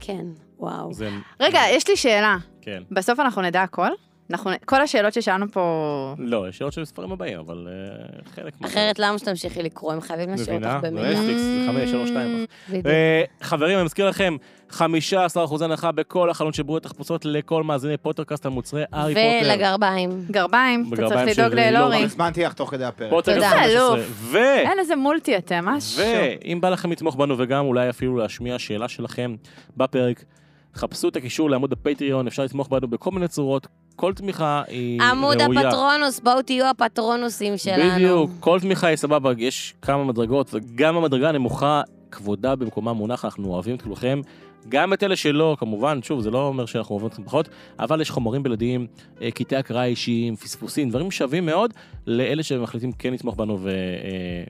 Speaker 2: כן, וואו.
Speaker 1: זה...
Speaker 5: רגע, יש לי שאלה.
Speaker 1: כן.
Speaker 5: בסוף אנחנו נדע הכל? אנחנו... כל השאלות ששאלנו פה...
Speaker 1: לא, יש שאלות של ספרים הבאים, אבל אה, חלק מה...
Speaker 2: אחרת למה שתמשיכי לקרוא, הם חייבים להשאיר
Speaker 1: מבינה?
Speaker 2: אותך במילה.
Speaker 1: נטפליקס, זה חמש, שלוש, שתיים.
Speaker 2: בדיוק.
Speaker 1: אה, חברים, אני מזכיר לכם, 15% הנחה בכל החלון של בריאות תחפושות לכל מאזיני פוטרקאסט על מוצרי הארי פוטר.
Speaker 2: ולגרביים.
Speaker 5: גרביים, אתה
Speaker 1: בגרביים
Speaker 5: צריך לדאוג
Speaker 1: של
Speaker 5: ללורי.
Speaker 1: לורי.
Speaker 4: הזמנתי לך תוך כדי הפרק.
Speaker 1: פוטרקאסט
Speaker 2: תודה.
Speaker 1: 15. ו...
Speaker 5: אין איזה מולטי אתם, משהו.
Speaker 1: ואם בא לכם לתמוך בנו וגם אולי אפילו להשמיע שאלה שלכם בפרק, חפשו את הקישור לעמוד הפטריון, אפשר לתמוך בנו בכל מיני צורות, כל תמיכה היא ראויה.
Speaker 2: עמוד הפטרונוס, בואו תהיו הפטרונוסים שלנו.
Speaker 1: בדיוק, כל תמיכה היא סבבה, יש כמה מדרגות, וגם המדרגה הנמוכה, כבודה במקומה מונח, אנחנו אוהבים את כולכם. גם את אלה שלא, כמובן, שוב, זה לא אומר שאנחנו אוהבים אתכם פחות, אבל יש חומרים בלעדיים, אה, קטעי הקראה אישיים, פספוסים, דברים שווים מאוד לאלה שמחליטים כן לתמוך בנו, ו... אה,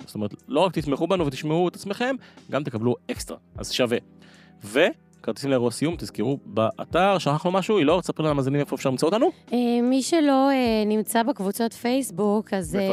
Speaker 1: זאת אומרת, לא רק תתמכו בנו ותשמעו את עצמכם, גם תקבלו אקסטרה, אז שווה. וכרטיסים לאירוע סיום, תזכרו באתר, שכחנו משהו, היא לא, תספר למאזינים איפה אפשר למצוא אותנו.
Speaker 7: אה, מי שלא אה, נמצא בקבוצות פייסבוק, אז אה,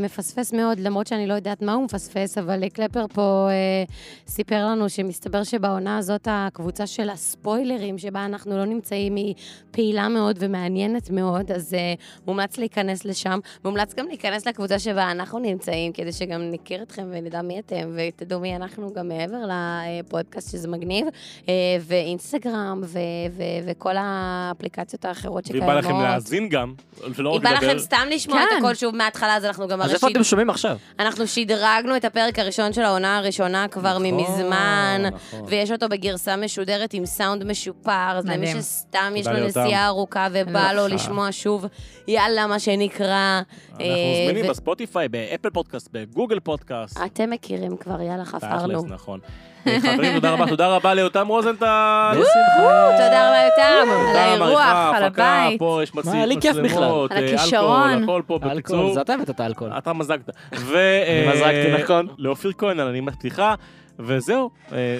Speaker 1: מפספס.
Speaker 7: מפספס מאוד, למרות שאני לא יודעת מה הוא מפספס, אבל אה, קלפר פה אה, סיפר לנו שמסתבר שבעונה הזאת הקבוצה של הספוילרים, שבה אנחנו לא נמצאים, היא פעילה מאוד ומעניינת מאוד, אז אה, מומלץ להיכנס לשם. מומלץ גם להיכנס לקבוצה שבה אנחנו נמצאים, כדי שגם נכיר אתכם ונדע מי אתם, ותדעו מי אנחנו גם מעבר לפודקאסט שזה מגניב, אה, ואינסטגרם, ו- ו- וכל האפליקציות האחרות
Speaker 1: ואם
Speaker 7: שקיימות.
Speaker 1: בא לכם להאזין גם, ולא
Speaker 2: אם
Speaker 1: רק
Speaker 2: בא
Speaker 1: לדבר.
Speaker 2: לכם סתם לשמוע
Speaker 5: כן.
Speaker 2: את הכל שוב מההתחלה, אז אנחנו גם
Speaker 3: אז
Speaker 2: הרי
Speaker 3: איפה
Speaker 2: שיד-
Speaker 3: אתם שומעים עכשיו?
Speaker 2: אנחנו שדרגנו את הפרק הראשון של העונה הראשונה כבר
Speaker 1: נכון,
Speaker 2: ממזמן,
Speaker 1: נכון.
Speaker 2: ויש אותו בגרסה משודרת עם סאונד משופר, אז למי
Speaker 5: מדהים.
Speaker 2: שסתם יש
Speaker 1: תודה
Speaker 2: לו
Speaker 1: ליותם.
Speaker 2: נסיעה ארוכה ובא לו
Speaker 1: לך.
Speaker 2: לשמוע שוב, יאללה, מה שנקרא.
Speaker 1: אנחנו
Speaker 2: אה,
Speaker 1: זמינים
Speaker 2: ו-
Speaker 1: בספוטיפיי, באפל פודקאסט, בגוגל פודקאסט.
Speaker 5: אה,
Speaker 2: אתם מכירים כבר, יאללה, חפרנו.
Speaker 1: תכלס, נכון. אה, חברים, תודה רבה, תודה רבה ליותם רוזנטל.
Speaker 2: תודה רבה, יותם.
Speaker 1: תודה,
Speaker 5: על האירוח,
Speaker 1: מעריכה,
Speaker 5: על
Speaker 1: הפקה,
Speaker 5: הבית.
Speaker 1: פה יש
Speaker 3: מה,
Speaker 1: מצלמות,
Speaker 3: לי כיף
Speaker 1: מצלמות,
Speaker 5: בכלל. על
Speaker 1: אה, אלכוהול,
Speaker 5: הכישרון.
Speaker 1: הכל פה,
Speaker 3: אלכוהול,
Speaker 1: בקיצור,
Speaker 3: זה אתה הבאת את האלכוהול.
Speaker 1: אתה מזגת. ו, אה,
Speaker 3: אני מזגתי, נכון.
Speaker 1: לאופיר כהן על הנימת פתיחה, וזהו. אה,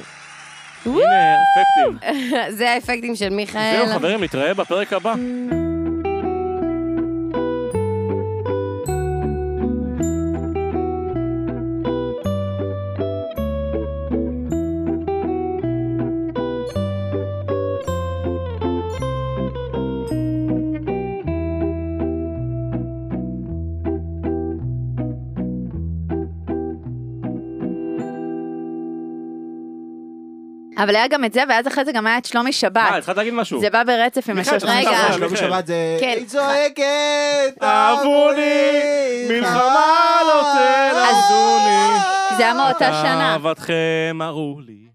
Speaker 1: הנה, אפקטים.
Speaker 2: זה האפקטים של מיכאל.
Speaker 5: אה,
Speaker 1: זהו, חברים, נתראה בפרק הבא.
Speaker 5: אבל היה גם את זה, ואז אחרי זה גם היה את שלומי
Speaker 1: אה,
Speaker 5: שבת.
Speaker 1: התחלת להגיד משהו.
Speaker 5: זה בא ברצף עם
Speaker 1: מיכאל,
Speaker 5: השלוש
Speaker 1: אתה
Speaker 2: כן, רגע.
Speaker 1: חזק,
Speaker 4: לא
Speaker 1: מיכאל.
Speaker 4: בשבת זה...
Speaker 2: כן.
Speaker 4: היא צועקת,
Speaker 1: אהבוני, מלחמה לא תלמדוני.
Speaker 5: זה היה מאותה שנה.
Speaker 1: אהבתכם הראו לי.